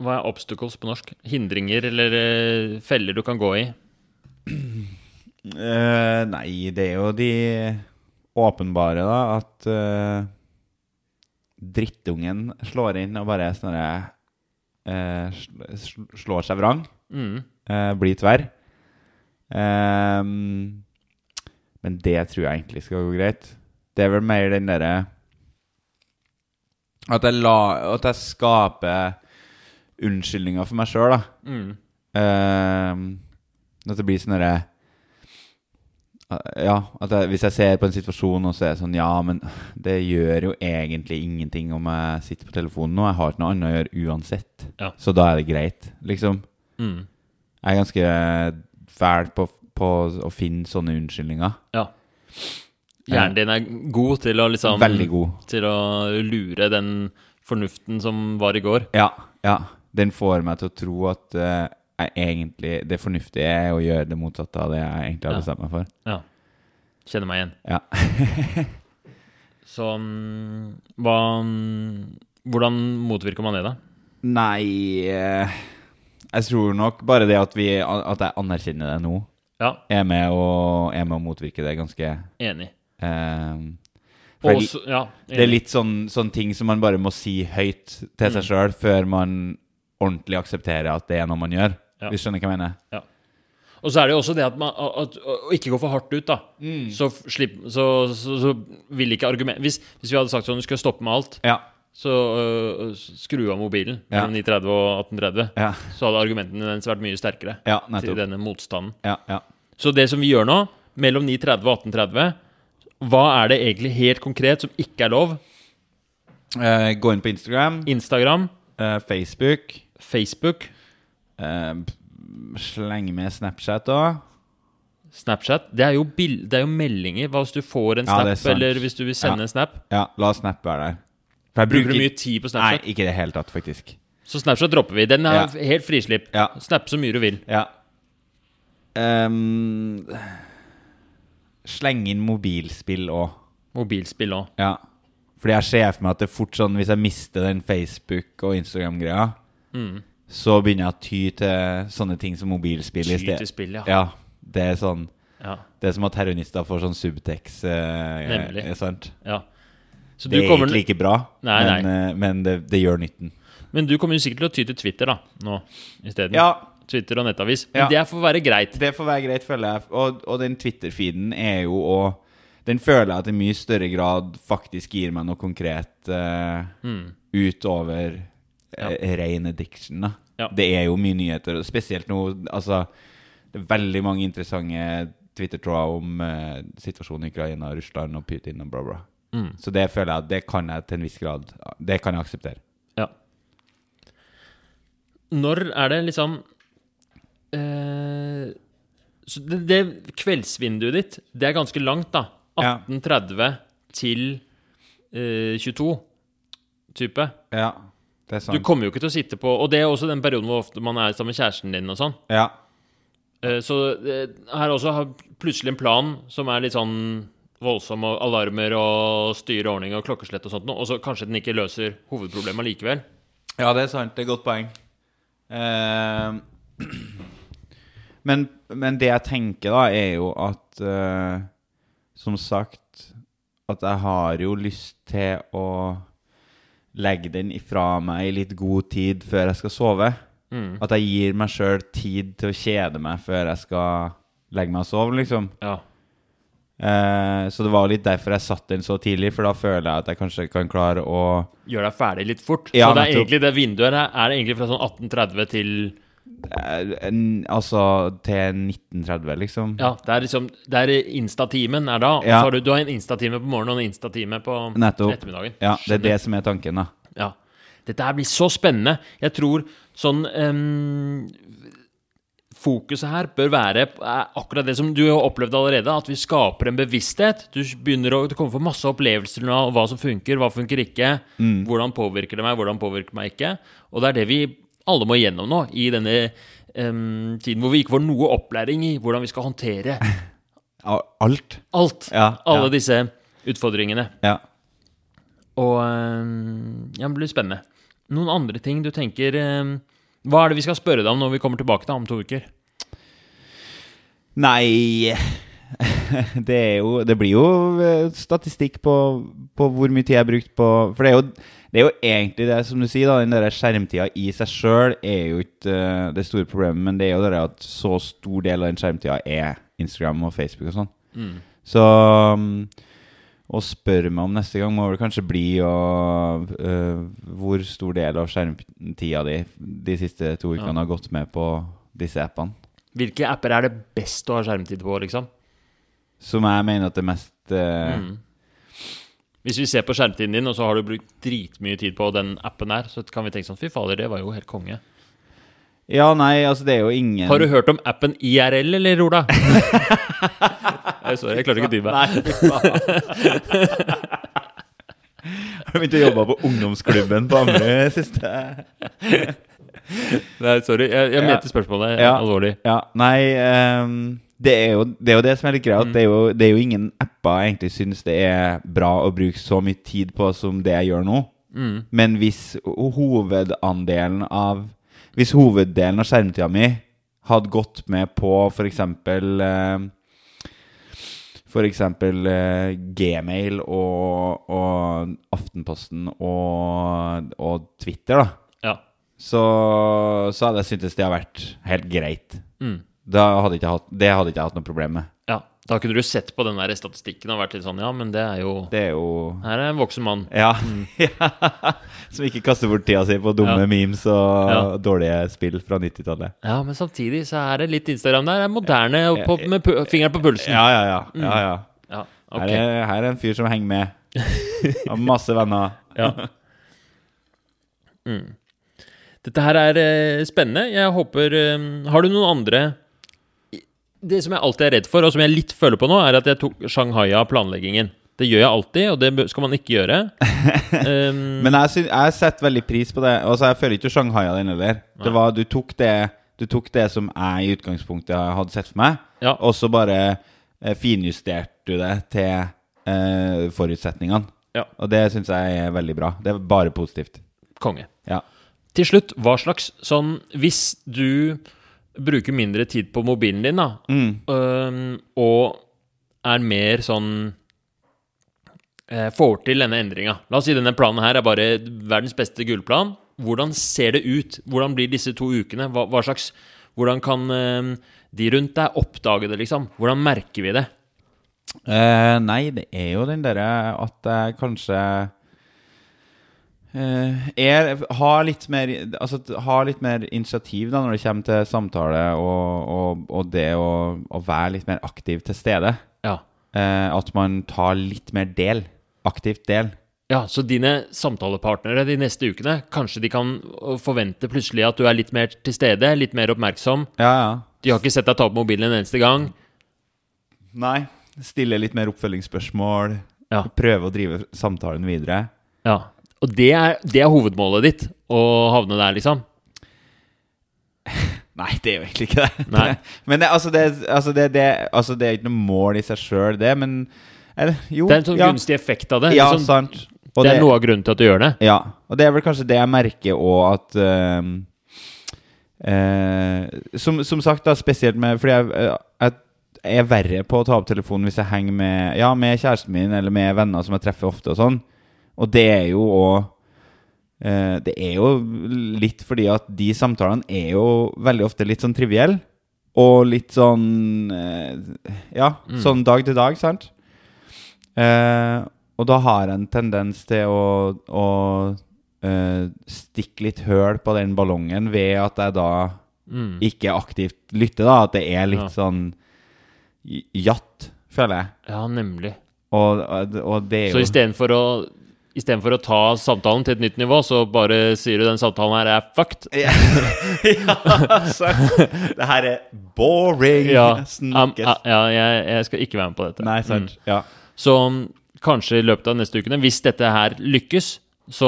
Hva er obstacles på norsk? Hindringer eller eh, feller du kan gå i?
Eh, nei, det er jo de åpenbare, da, at eh, drittungen slår inn og bare sånn herre, eh, sl- sl- slår seg vrang.
Mm.
eh, bli tverr. Ehm, men det tror jeg egentlig skal gå greit. Det er vel mer den derre at, jeg la- at jeg skaper unnskyldninger for meg sjøl, da.
Mm.
Ehm, at det blir sånn derre ja, at jeg, hvis jeg ser på en situasjon og så er det sånn Ja, men det gjør jo egentlig ingenting om jeg sitter på telefonen nå. Jeg har ikke noe annet å gjøre uansett.
Ja.
Så da er det greit, liksom.
Mm.
Jeg er ganske eh, fæl på, på å finne sånne unnskyldninger.
Ja. Hjernen din er god til å liksom
Veldig god.
Til å lure den fornuften som var i går.
Ja, ja. Den får meg til å tro at eh, jeg egentlig, det fornuftige er å gjøre det motsatte av det jeg egentlig har
Ja.
bestemt meg for.
Ja. Kjenner meg igjen.
Ja.
Så mm, hva mm, Hvordan motvirker man det, da?
Nei eh, Jeg tror nok bare det at, vi, at jeg anerkjenner det nå,
Ja,
er med å, er med å motvirke det ganske
enig.
eh, for jeg-
Også, ja,
Det
enig.
er
Mm.
litt sånn, sånn ting som man bare må si høyt til seg sjøl før man ordentlig aksepterer at det er noe man gjør.
Ja.
Hvis du skjønner hva jeg mener?
Og så er det jo også det at man at, Å ikke gå for hardt ut, da.
Mm.
Så, f- slipp, så, så, så vil ikke argument hvis, hvis vi hadde sagt sånn du skal stoppe med alt,
Ja.
så øh, skru av mobilen
Ja.
mellom 9.30 og 18.30,
Ja,
så hadde argumentene dens vært mye sterkere
ja
til
nettopp.
denne motstanden.
Ja, ja.
Så det som vi gjør nå, mellom 9.30 og 18.30, hva er det egentlig helt konkret som ikke er lov?
Eh, gå inn på Instagram,
Instagram,
eh, Facebook,
Facebook,
eh, sleng med Snapchat òg.
Snapchat. Det er jo, bil- det er jo meldinger. Hva hvis du får en
Ja,
snap,
det er sant.
eller hvis du vil sende
Ja.
en snap?
Ja, la Snap være der. For jeg
Bruker du mye tid på
Nei,
Snapchat?
ikke i det hele tatt, faktisk.
Så Snapchat dropper vi. Den er
Ja.
helt frislipp.
Ja.
Snap så mye du vil.
Ja. Ehm, sleng inn mobilspill òg.
Mobilspill òg.
Ja. Fordi jeg ser for meg at det er fort sånn hvis jeg mister den Facebook- og Instagram-greia,
Mm.
så begynner jeg å ty til sånne ting som mobilspill i
Skyte
sted.
spill, ja.
Ja, det er sånn
ja.
Det er som at terrorister får sånn Subtex. Eh,
Nemlig.
Er sant?
ja. Så du
Det er
kommer,
ikke like bra,
Nei,
men, eh, men det, det gjør nytten.
men du kommer jo sikkert til å ty til Twitter da, nå isteden.
Ja,
Twitter og nettavis. Men
Ja.
det får være greit.
det får være greit, føler jeg. Og, og den Twitter-feeden er jo å Den føler jeg at i mye større grad faktisk gir meg noe konkret eh,
Mm.
utover
Ja.
eh, ren addiction. Da.
Ja.
Det er jo mye nyheter, og spesielt nå Altså, det er veldig mange interessante Twitter-tråder om eh, situasjonen i Ukraina, Russland og Putin og bla, bla.
Mm.
Så det føler jeg at det kan jeg til en viss grad Det kan jeg akseptere.
Ja. Når er det liksom eh, Så det, det kveldsvinduet ditt, det er ganske langt, da.
Ja.
18.30 til eh, 22 type.
Ja, det er
Du
sant.
kommer jo ikke til å sitte på Og det er også den perioden hvor ofte man er sammen med kjæresten din og sånn.
Ja.
Eh, Så eh, her også har plutselig en plan som er litt sånn voldsom, og alarmer og styre ordning og klokkeslett og sånt noe, og så kanskje den ikke løser hovedproblemet likevel.
Ja, det er sant. Det er et godt poeng. Ehm, men, men det jeg tenker, da, er jo at eh, som sagt at jeg har jo lyst til å legge den ifra meg i litt god tid før jeg skal sove.
Mm.
At jeg gir meg sjøl tid til å kjede meg før jeg skal legge meg og sove, liksom.
Ja.
Eh, så det var litt derfor jeg satt den så tidlig, for da føler jeg at jeg kanskje kan klare å
Gjør deg ferdig litt fort. så det
Ja,
er
nettopp.
egentlig det vinduet her er det egentlig fra sånn 1830 til
eh, en- Altså til 1930, liksom.
Ja, det er liksom Det er Insta-timen er da. og
Ja.
Så har du, du har en Insta-time på morgenen og en Insta-time på
Nettopp.
ettermiddagen.
Ja, det er det som er tanken, da.
Ja. Dette her blir så spennende. Jeg tror sånn ehm, Fokuset her bør være p- er akkurat det som du har opplevd allerede, at vi skaper en bevissthet. Du s- begynner å, det kommer for masse opplevelser nå, hva som funker, hva funker ikke.
Mm.
Hvordan påvirker det meg, hvordan påvirker det meg ikke. Og det er det vi alle må igjennom nå, i denne ehm, tiden hvor vi ikke får noe opplæring i hvordan vi skal håndtere
Al- Alt.
alt.
Ja,
alle
ja.
disse utfordringene.
Ja.
Og øhm, ja, det blir spennende. Noen andre ting du tenker øhm, Hva er det vi skal spørre deg om når vi kommer tilbake da, om to uker?
Nei det, er jo, det blir jo eh, statistikk på, på hvor mye tid jeg har brukt på For det er jo, det er jo egentlig det som du sier, da, den der skjermtida i seg sjøl er jo ikke eh, det store problemet, men det er jo det der at så stor del av den skjermtida er Instagram og Facebook og sånn. Så mm, å spørre meg om neste gang må vel kanskje bli å, eh, hvor stor del av skjermtida di de siste to ukene har gått med på disse appene.
Hvilke apper er det best å ha skjermtid på, liksom?
Som jeg mener at det mest eh,
Mm. Hvis vi ser på skjermtiden din, og så har du brukt dritmye tid på den appen der, så kan vi tenke sånn Fy fader, det var jo helt konge.
Ja, nei, altså det er jo ingen
Har du hørt om appen IRL, eller, Ola? Nei, Sorry, jeg klarte ikke å dy meg.
Har du begynt å jobbe på ungdomsklubben på Ammerud siste
Nei, sorry. Jeg, jeg
Ja.
mente spørsmålet
Ja.
alvorlig.
Ja, nei ehm, det, er jo, det er jo det som er litt greia. at Det, er jo- det er jo ingen apper jeg egentlig syns det er bra å bruke så mye tid på som det jeg gjør nå.
Mm,
Men hvis ho- hovedandelen av Hvis hoveddelen av skjermtida mi hadde gått med på for eksempel eh, For eksempel eh, Gmail og, og Aftenposten og, og Twitter, da
Ja.
så, så hadde jeg syntes det har vært helt greit.
Mm.
Da hadde ikke jeg hatt, det hadde ikke jeg hatt noe problem med.
ja. Da kunne du sett på den der statistikken og vært litt sånn Ja, men det er jo
Det er jo
Her er en voksen mann.
Ja. Som ikke kaster bort tida si på dumme
Ja.
memes og
Ja.
dårlige spill fra 90-tallet.
Ja, men samtidig så er det litt Instagram der. Det er moderne og på, med pu fingeren på pulsen.
Ja, ja, ja. Mm. ja, ja.
Ja,
Her,
ok.
er, her er en fyr som henger med. Har masse venner.
Ja. Mm. Dette her er eh, spennende. Jeg håper eh, Har du noen andre Det som jeg alltid er redd for, og som jeg litt føler på nå, er at jeg tok Shanghai av planleggingen. Det gjør jeg alltid, og det bø- skal man ikke gjøre. Um,
Men jeg, syn- jeg setter veldig pris på det. Altså, jeg føler ikke Shanghai av den heller. Det var, du, tok det, du tok det som jeg i utgangspunktet hadde sett for meg,
Ja.
og så bare eh, finjusterte du det til eh, forutsetningene.
Ja.
Og det syns jeg er veldig bra. Det er bare positivt.
konge.
Ja.
Til slutt, hva slags sånn Hvis du bruker mindre tid på mobilen din, da, øhm, og er mer sånn eh, Får til denne endringa. La oss si denne planen her er bare verdens beste gullplan. Hvordan ser det ut? Hvordan blir disse to ukene? Hva, hva slags Hvordan kan øhm, de rundt deg oppdage det, liksom? Hvordan merker vi det?
Eh, nei, det er jo den derre at jeg kanskje eh, er, har, litt mer, altså, t- har litt mer initiativ da når det kommer til samtale og, og, og det å, å være litt mer aktiv til stede.
Ja.
Eh, at man tar litt mer del. Aktivt del.
Ja, Så dine samtalepartnere de neste ukene, kanskje de kan øh, forvente plutselig at du er litt mer til stede, litt mer oppmerksom?
Ja, ja.
De har ikke sett deg ta opp mobilen en eneste gang.
Nei. Stille litt mer oppfølgingsspørsmål.
Ja.
Prøve å drive samtalen videre.
Ja. Og det er, det er hovedmålet ditt, å havne der, liksom.
Nei, det er jo egentlig ikke det.
Nei.
Men det, altså, det, altså, det, det, altså, det er ikke noe mål i seg sjøl, det, men eller, Jo.
Det er en sånn
ja.
gunstig effekt av det.
Ja,
liksom,
sant. Og
det, er noe av grunnen til at du gjør det.
Ja, og det er vel kanskje det jeg merker òg at ehm, eh, som, som sagt, da, spesielt med Fordi jeg, eh, jeg, er verre på å ta opp telefonen hvis jeg henger med, ja, med kjæresten min eller med venner som jeg treffer ofte og sånn. Og det er jo òg eh, Det er jo litt fordi at de samtalene er jo veldig ofte litt sånn trivielle. Og litt sånn eh, Ja, sånn dag til dag, sant? Eh, og da har jeg en tendens til å, å eh, stikke litt høl på den ballongen ved at jeg da
Mm.
ikke aktivt lytter, da. At det er litt
Ja.
sånn j- jatt, føler jeg.
Ja, nemlig.
Og, og, og det er
Så
jo
istedenfor å Istedenfor å ta samtalen til et nytt nivå, så bare sier du den samtalen her er fucked.
altså, Det her er boring!
Ja, uh, am-
Snakkes.
Um, ja jeg, jeg skal ikke være med på dette.
Nei, sant. Ja.
Så mm, kanskje i løpet av neste ukene, hvis dette her lykkes, så,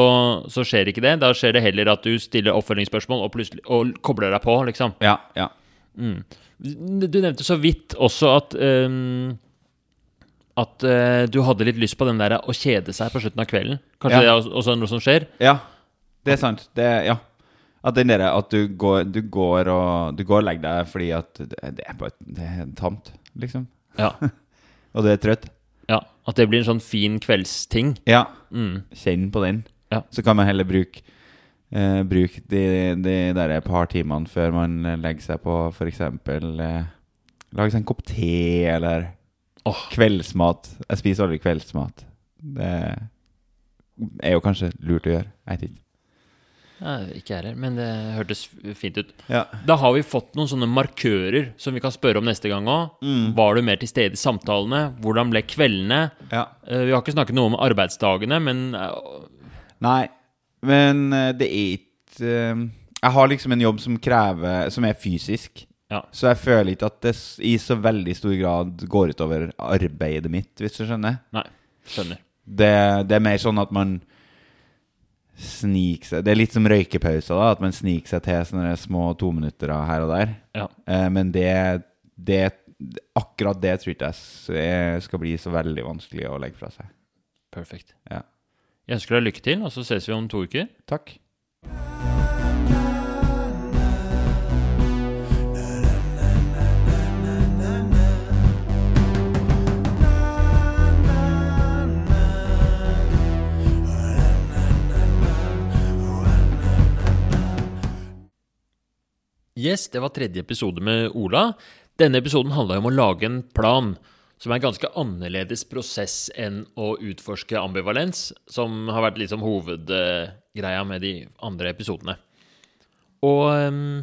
så skjer ikke det. Da skjer det heller at du stiller oppfølgingsspørsmål og, plutselig- og kobler deg på, liksom.
ja, ja.
Du nevnte så vidt også at ehm, at eh, du hadde litt lyst på den der å kjede seg på slutten av kvelden. Kanskje
Ja.
det er også- også noe som skjer?
Ja, det er sant. Det, ja. At den derre at du går, du går og Du går og legger deg fordi at det det er bare det er tamt, liksom.
Ja.
Og du er trøtt.
ja. At det blir en sånn fin kveldsting.
Ja,
Mm.
kjenn på den.
Ja.
Så kan man heller bruke eh, Bruke de, de derre par timene før man legger seg på f.eks. Eh, lage seg en kopp te eller
Åh.
kveldsmat. Jeg spiser aldri kveldsmat. Det er jo kanskje lurt å gjøre. Jeg vet ikke.
Nei, ikke jeg heller, men det hørtes fint ut.
Ja.
Da har vi fått noen sånne markører som vi kan spørre om neste gang òg. Var du mer til stede i samtalene? Hvordan ble kveldene?
ja.
Eh, Vi har ikke snakket noe om arbeidsdagene, men eh,
Nei, men eh, det er ikke eh, Jeg har liksom en jobb som krever Som er fysisk.
Ja.
Så jeg føler ikke at det s- i så veldig stor grad går utover arbeidet mitt, hvis du skjønner.
Nei, skjønner.
Det, det er mer sånn at man sniker seg Det er litt som røykepauser, da. At man sniker seg til sånne små tominutter her og der.
Ja.
Eh, Men det, det Akkurat det tror ikke jeg s- er- skal bli så veldig vanskelig å legge fra seg.
Perfekt.
Ja.
Jeg ønsker deg lykke til, og så ses vi om to uker.
Takk.
Yes, det var tredje episode med Ola. Denne episoden handla om å lage en plan, som er en ganske annerledes prosess enn å utforske ambivalens, som har vært liksom hovedgreia med de andre episodene. Og ehm,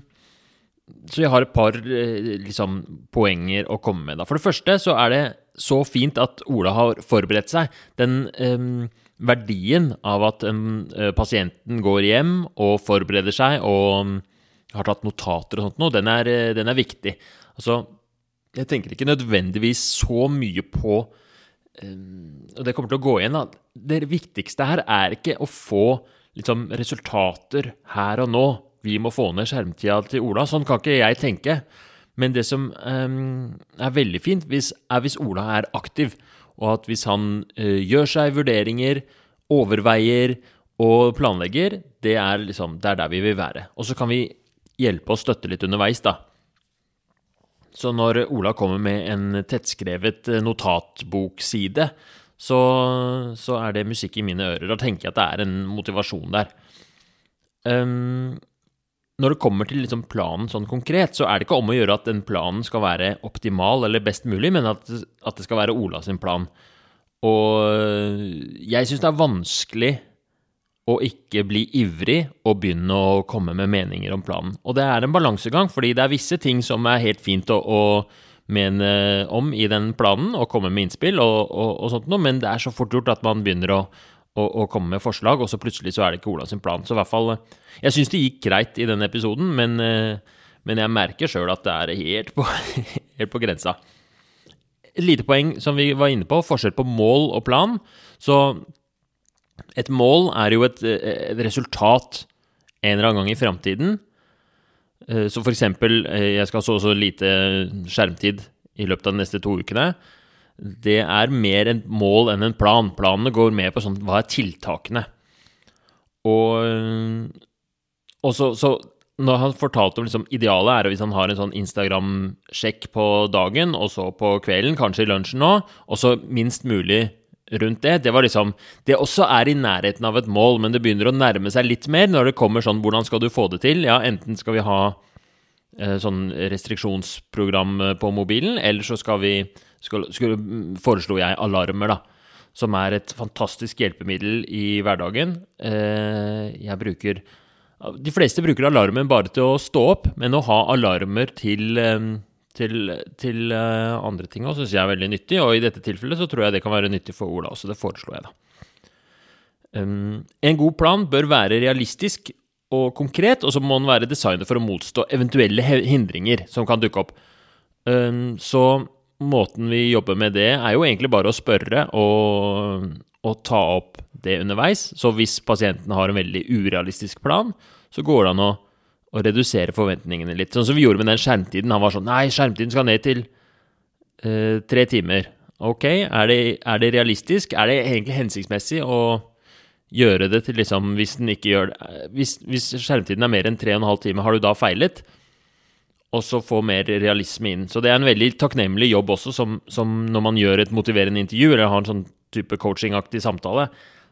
Så jeg har et par eh, liksom, poenger å komme med. Da. For det første så er det så fint at Ola har forberedt seg. Den ehm, verdien av at em, eh, pasienten går hjem og forbereder seg og mm, har tatt notater og sånt noe, den er, eh, den er viktig. Altså, jeg tenker ikke nødvendigvis så mye på og det kommer til å gå igjen, da. Det viktigste her er ikke å få liksom, resultater her og nå. Vi må få ned skjermtida til Ola. Sånn kan ikke jeg tenke. Men det som eh, er veldig fint, hvis, er hvis Ola er aktiv, og at hvis han eh, gjør seg vurderinger, overveier og planlegger, det er, liksom, det er der vi vil være. Og så kan vi hjelpe og støtte litt underveis, da. Så når Ola kommer med en tettskrevet eh, notatbokside, så, så er det musikk i mine ører. Da tenker jeg at det er en motivasjon der. Ehm, når det kommer til liksom planen sånn konkret, så er det ikke om å gjøre at den planen skal være optimal eller best mulig, men at, at det skal være Ola sin plan. Og eh, jeg syns det er vanskelig å ikke bli ivrig og begynne å komme med meninger om planen. Og det er en balansegang, fordi det er visse ting som er helt fint å, å mene om i den planen, og komme med innspill og, og, og sånt noe, men det er så fort gjort at man begynner å, å, å komme med forslag, og så plutselig så er det ikke Ola sin plan. Så i hvert fall eh, Jeg syns det gikk greit i den episoden, men, eh, men jeg merker sjøl at det er helt på, helt på grensa. Et lite poeng som vi var inne på, forskjell på mål og plan. Så et mål er jo et, eh, et resultat en eller annen gang i framtiden. Eh, Så for eksempel, eh, jeg skal ha så og så lite skjermtid i løpet av de neste to ukene. Det er mer et mål enn en plan. Planene går med på sånn, hva er tiltakene? Og, eh, og så, så når han fortalte om liksom, idealet er hvis han har en sånn Instagram-sjekk på dagen, og så på kvelden, kanskje i lunsjen nå, og så minst mulig rundt det. Det var liksom Det også er i nærheten av et mål, men det begynner å nærme seg litt mer når det kommer sånn Hvordan skal du få det til? Ja, enten skal vi ha eh, sånn restriksjonsprogram eh, på mobilen, eller så skal vi skal, skulle, mm, Foreslo jeg alarmer, da. Som er et fantastisk hjelpemiddel i hverdagen. Eh, jeg bruker De fleste bruker alarmen bare til å stå opp, men å ha alarmer til eh, til, til eh, andre ting òg syns jeg er veldig nyttig, og i dette tilfellet så tror jeg det kan være nyttig for Ola også. Det foreslo jeg, da. Um, en god plan bør være realistisk og konkret, og så må den være designet for å motstå eventuelle he- hindringer som kan dukke opp. Um, så måten vi jobber med det, er jo egentlig bare å spørre og, og ta opp det underveis. Så hvis pasienten har en veldig urealistisk plan, så går det an å, å redusere forventningene litt. Sånn som vi gjorde med den skjermtiden. Han var sånn Nei, skjermtiden skal ned til eh, tre timer. Ok, er det, er det realistisk? Er det egentlig hensiktsmessig å gjøre det til liksom Hvis den ikke gjør det eh, Hvis, hvis skjermtiden er mer enn tre og en halv time, har du da feilet? Og så få mer realisme inn. Så det er en veldig takknemlig jobb også, som, som når man gjør et motiverende intervju, eller har en sånn type coachingaktig samtale,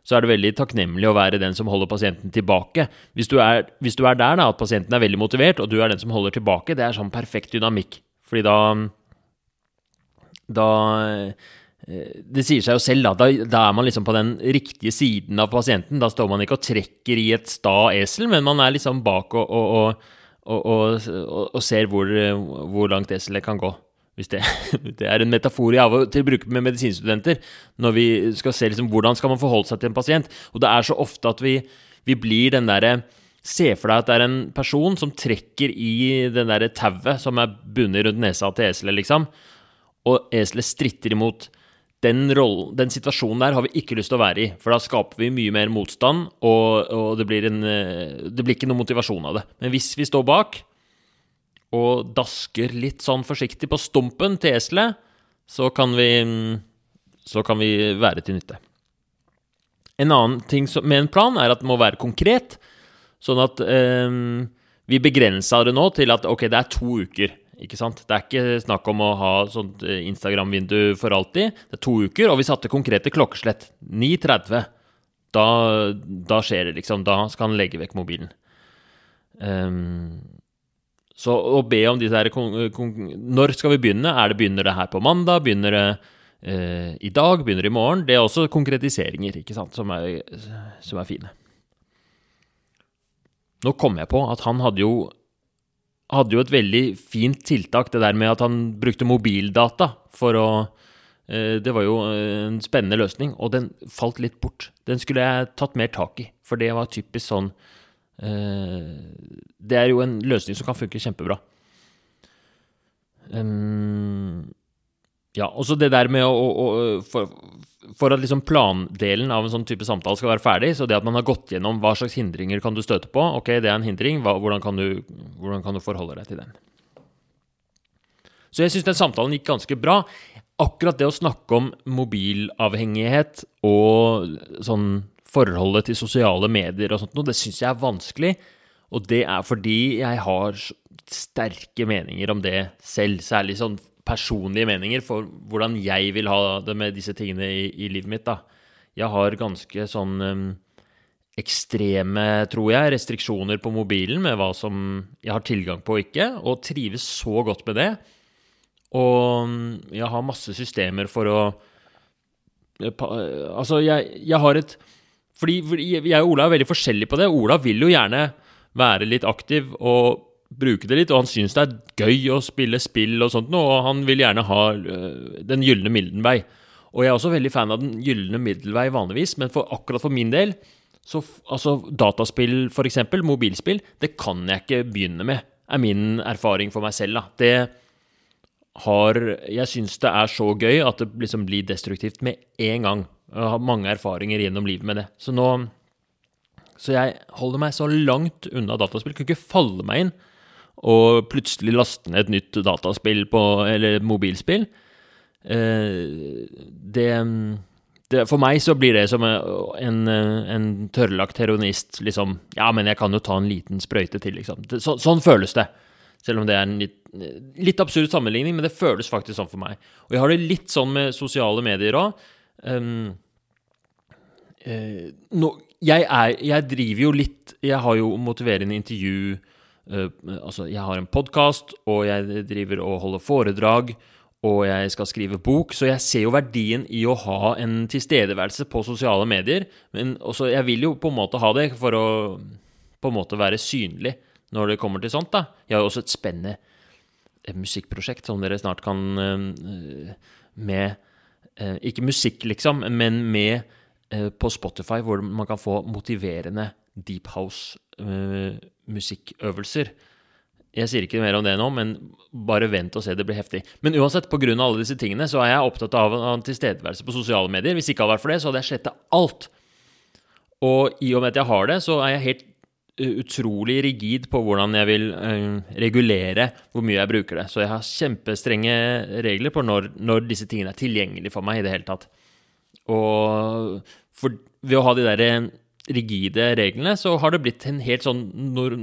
så er det veldig takknemlig å være den som holder pasienten tilbake. Hvis du er, hvis du er der, da, at pasienten er veldig motivert, og du er den som holder tilbake, det er sånn perfekt dynamikk. Fordi da da eh, Det sier seg jo selv, da. Da, da er man liksom på den riktige siden av pasienten. Da står man ikke og trekker i et sta esel, men man er liksom bak og, og, og, og, og, og ser hvor, eh, hvor langt eselet kan gå. Hvis det, det er en metafor jeg av og til bruker med medisinstudenter, når vi skal se liksom, hvordan skal man forholde seg til en pasient. Og det er så ofte at vi, vi blir den derre Se for deg at det er en person som trekker i den derre tauet som er bundet rundt nesa til eselet, liksom og eselet stritter imot. Den, rollen, den situasjonen der har vi ikke lyst til å være i, for da skaper vi mye mer motstand, og, og det, blir en, eh, det blir ikke noe motivasjon av det. Men hvis vi står bak og dasker litt sånn forsiktig på stumpen til eselet, så kan vi mm, Så kan vi være til nytte. En annen ting som, med en plan er at den må være konkret, sånn at eh, vi begrensa det nå til at ok, det er to uker. Ikke sant? Det er ikke snakk om å ha sånt eh, Instagram-vindu for alltid. Det er to uker, og vi satte konkrete klokkeslett. 9.30. Da, da skjer det, liksom. Da skal han legge vekk mobilen. Ehm, så å be om disse her kon kon Når skal vi begynne? Er det Begynner det her på mandag? Begynner det eh, i dag? Begynner det i morgen? Det er også konkretiseringer, ikke sant, som er, som er fine. Nå kom jeg på at han hadde jo hadde jo et veldig fint tiltak, det der med at han brukte mobildata for å eh, Det var jo eh, en spennende løsning, og den falt litt bort. Den skulle jeg tatt mer tak i, for det var typisk sånn eh, Det er jo en løsning som kan funke kjempebra. Ehm, ja, og så det der med å, å, å for, for at liksom plandelen av en sånn type samtale skal være ferdig, så det at man har gått gjennom hva slags hindringer kan du støte på Ok, det er en hindring, hva, hvordan, kan du, hvordan kan du forholde deg til den? Så jeg syns den samtalen gikk ganske bra. Akkurat det å snakke om mobilavhengighet og sånn forholdet til sosiale medier og sånt noe, det syns jeg er vanskelig. Og det er fordi jeg har s- sterke meninger om det selv. Særlig sånn personlige meninger for hvordan jeg vil ha det med disse tingene i, i livet mitt. da. Jeg har ganske sånn em, ekstreme, tror jeg, restriksjoner på mobilen med hva som jeg har tilgang på og ikke, og trives så godt med det. Og mm, jeg har masse systemer for å eh, pa- Altså, jeg, jeg har et Fordi fordi jeg og Ola er veldig forskjellige på det. Ola vil jo gjerne være litt aktiv og bruke det litt, og han syns det er gøy å spille spill og sånt noe, og han vil gjerne ha øh, den gylne middelvei. Og jeg er også veldig fan av den gylne middelvei vanligvis, men for, akkurat for min del så f- altså, dataspill, for eksempel, mobilspill, det kan jeg ikke begynne med, er min erfaring for meg selv. Da. Det, har Jeg syns det er så gøy at det liksom blir destruktivt med en gang. Jeg har mange erfaringer gjennom livet med det. Så nå Så jeg holder meg så langt unna dataspill. Kunne ikke falle meg inn og plutselig laste ned et nytt dataspill på Eller mobilspill. Eh, Det det, For meg så blir det som en, eh, en tørrlagt heroinist liksom Ja, men jeg kan jo ta en liten sprøyte til, liksom. Det, så, sånn føles det. Selv om det er en litt, eh, litt absurd sammenligning, men det føles faktisk sånn for meg. Og jeg har det litt sånn med sosiale medier Ehm, òg. Eh, nå, jeg, er, jeg driver jo litt Jeg har jo motiverende intervju eh, Altså, jeg har en podkast, og jeg driver og holder foredrag, og jeg skal skrive bok, så jeg ser jo verdien i å ha en tilstedeværelse på sosiale medier. Men også, jeg vil jo på en måte ha det for å på en måte være synlig når det kommer til sånt, da. Jeg har jo også et spennende eh, musikkprosjekt som dere snart kan eh, Med eh, Ikke musikk, liksom, men med eh, på Spotify, hvor man kan få motiverende deep house-musikkøvelser. Jeg sier ikke mer om det nå, men bare vent og se, det blir heftig. Men uansett, pga. alle disse tingene, så er jeg opptatt av av tilstedeværelse på sosiale medier. Hvis ikke hadde vært for det, så hadde jeg sletta alt. Og i og med at jeg har det, så er jeg helt eh, utrolig rigid på hvordan jeg vil eh, regulere hvor mye jeg bruker det. Så jeg har kjempestrenge regler på når, når disse tingene er tilgjengelige for meg i det hele tatt. Og for, ved å ha de der eh, rigide reglene, så har det blitt en helt sånn nor-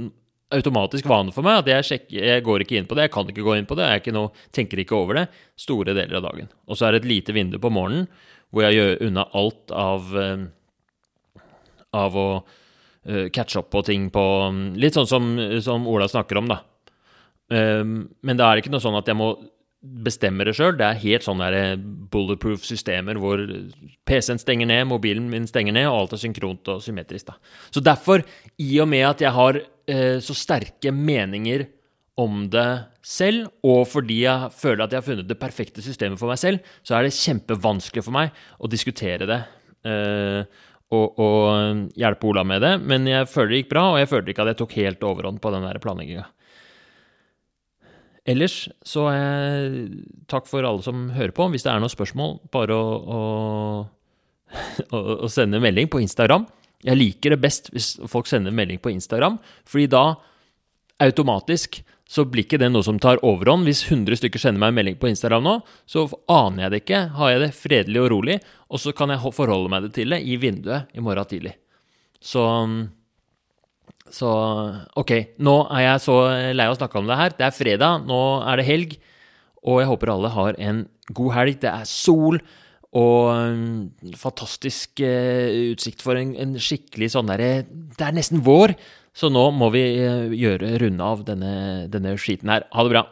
automatisk vane for meg at jeg, sjekker, jeg går ikke inn på det, jeg kan ikke gå inn på det, jeg er ikke noe, tenker ikke over det store deler av dagen. Og så er det et lite vindu på morgenen hvor jeg gjør unna alt av, eh, av å eh, catche opp på ting på mm, Litt sånn som, som Ola snakker om, da. Um, men det er ikke noe sånn at jeg må bestemmer det sjøl. Det er helt sånne der eh, bulletproof systemer hvor PC-en stenger ned, mobilen min stenger ned, og alt er synkront og symmetrisk. Da. Så derfor, i og med at jeg har eh, så sterke meninger om det selv, og fordi jeg føler at jeg har funnet det perfekte systemet for meg selv, så er det kjempevanskelig for meg å diskutere det. Eh, og, og hjelpe Ola med det, men jeg føler det gikk bra, og jeg følte ikke at jeg tok helt overhånd på den planlegginga. Ellers så eh, takk for alle som hører på. Hvis det er noen spørsmål, bare å, å, å, å sende melding på Instagram. Jeg liker det best hvis folk sender melding på Instagram, fordi da automatisk så blir ikke det noe som tar overhånd. Hvis 100 stykker sender meg en melding på Instagram nå, så aner jeg det ikke. Har jeg det fredelig og rolig, og så kan jeg ho- forholde meg det til det i vinduet i morgen tidlig. Så så ok, nå er jeg så lei av å snakke om det her. Det er fredag, nå er det helg. Og jeg håper alle har en god helg. Det er sol og mm, fantastisk eh, utsikt for en, en skikkelig sånn derre Det er nesten vår, så nå må vi eh, gjøre runde av denne, denne skiten her. Ha det bra.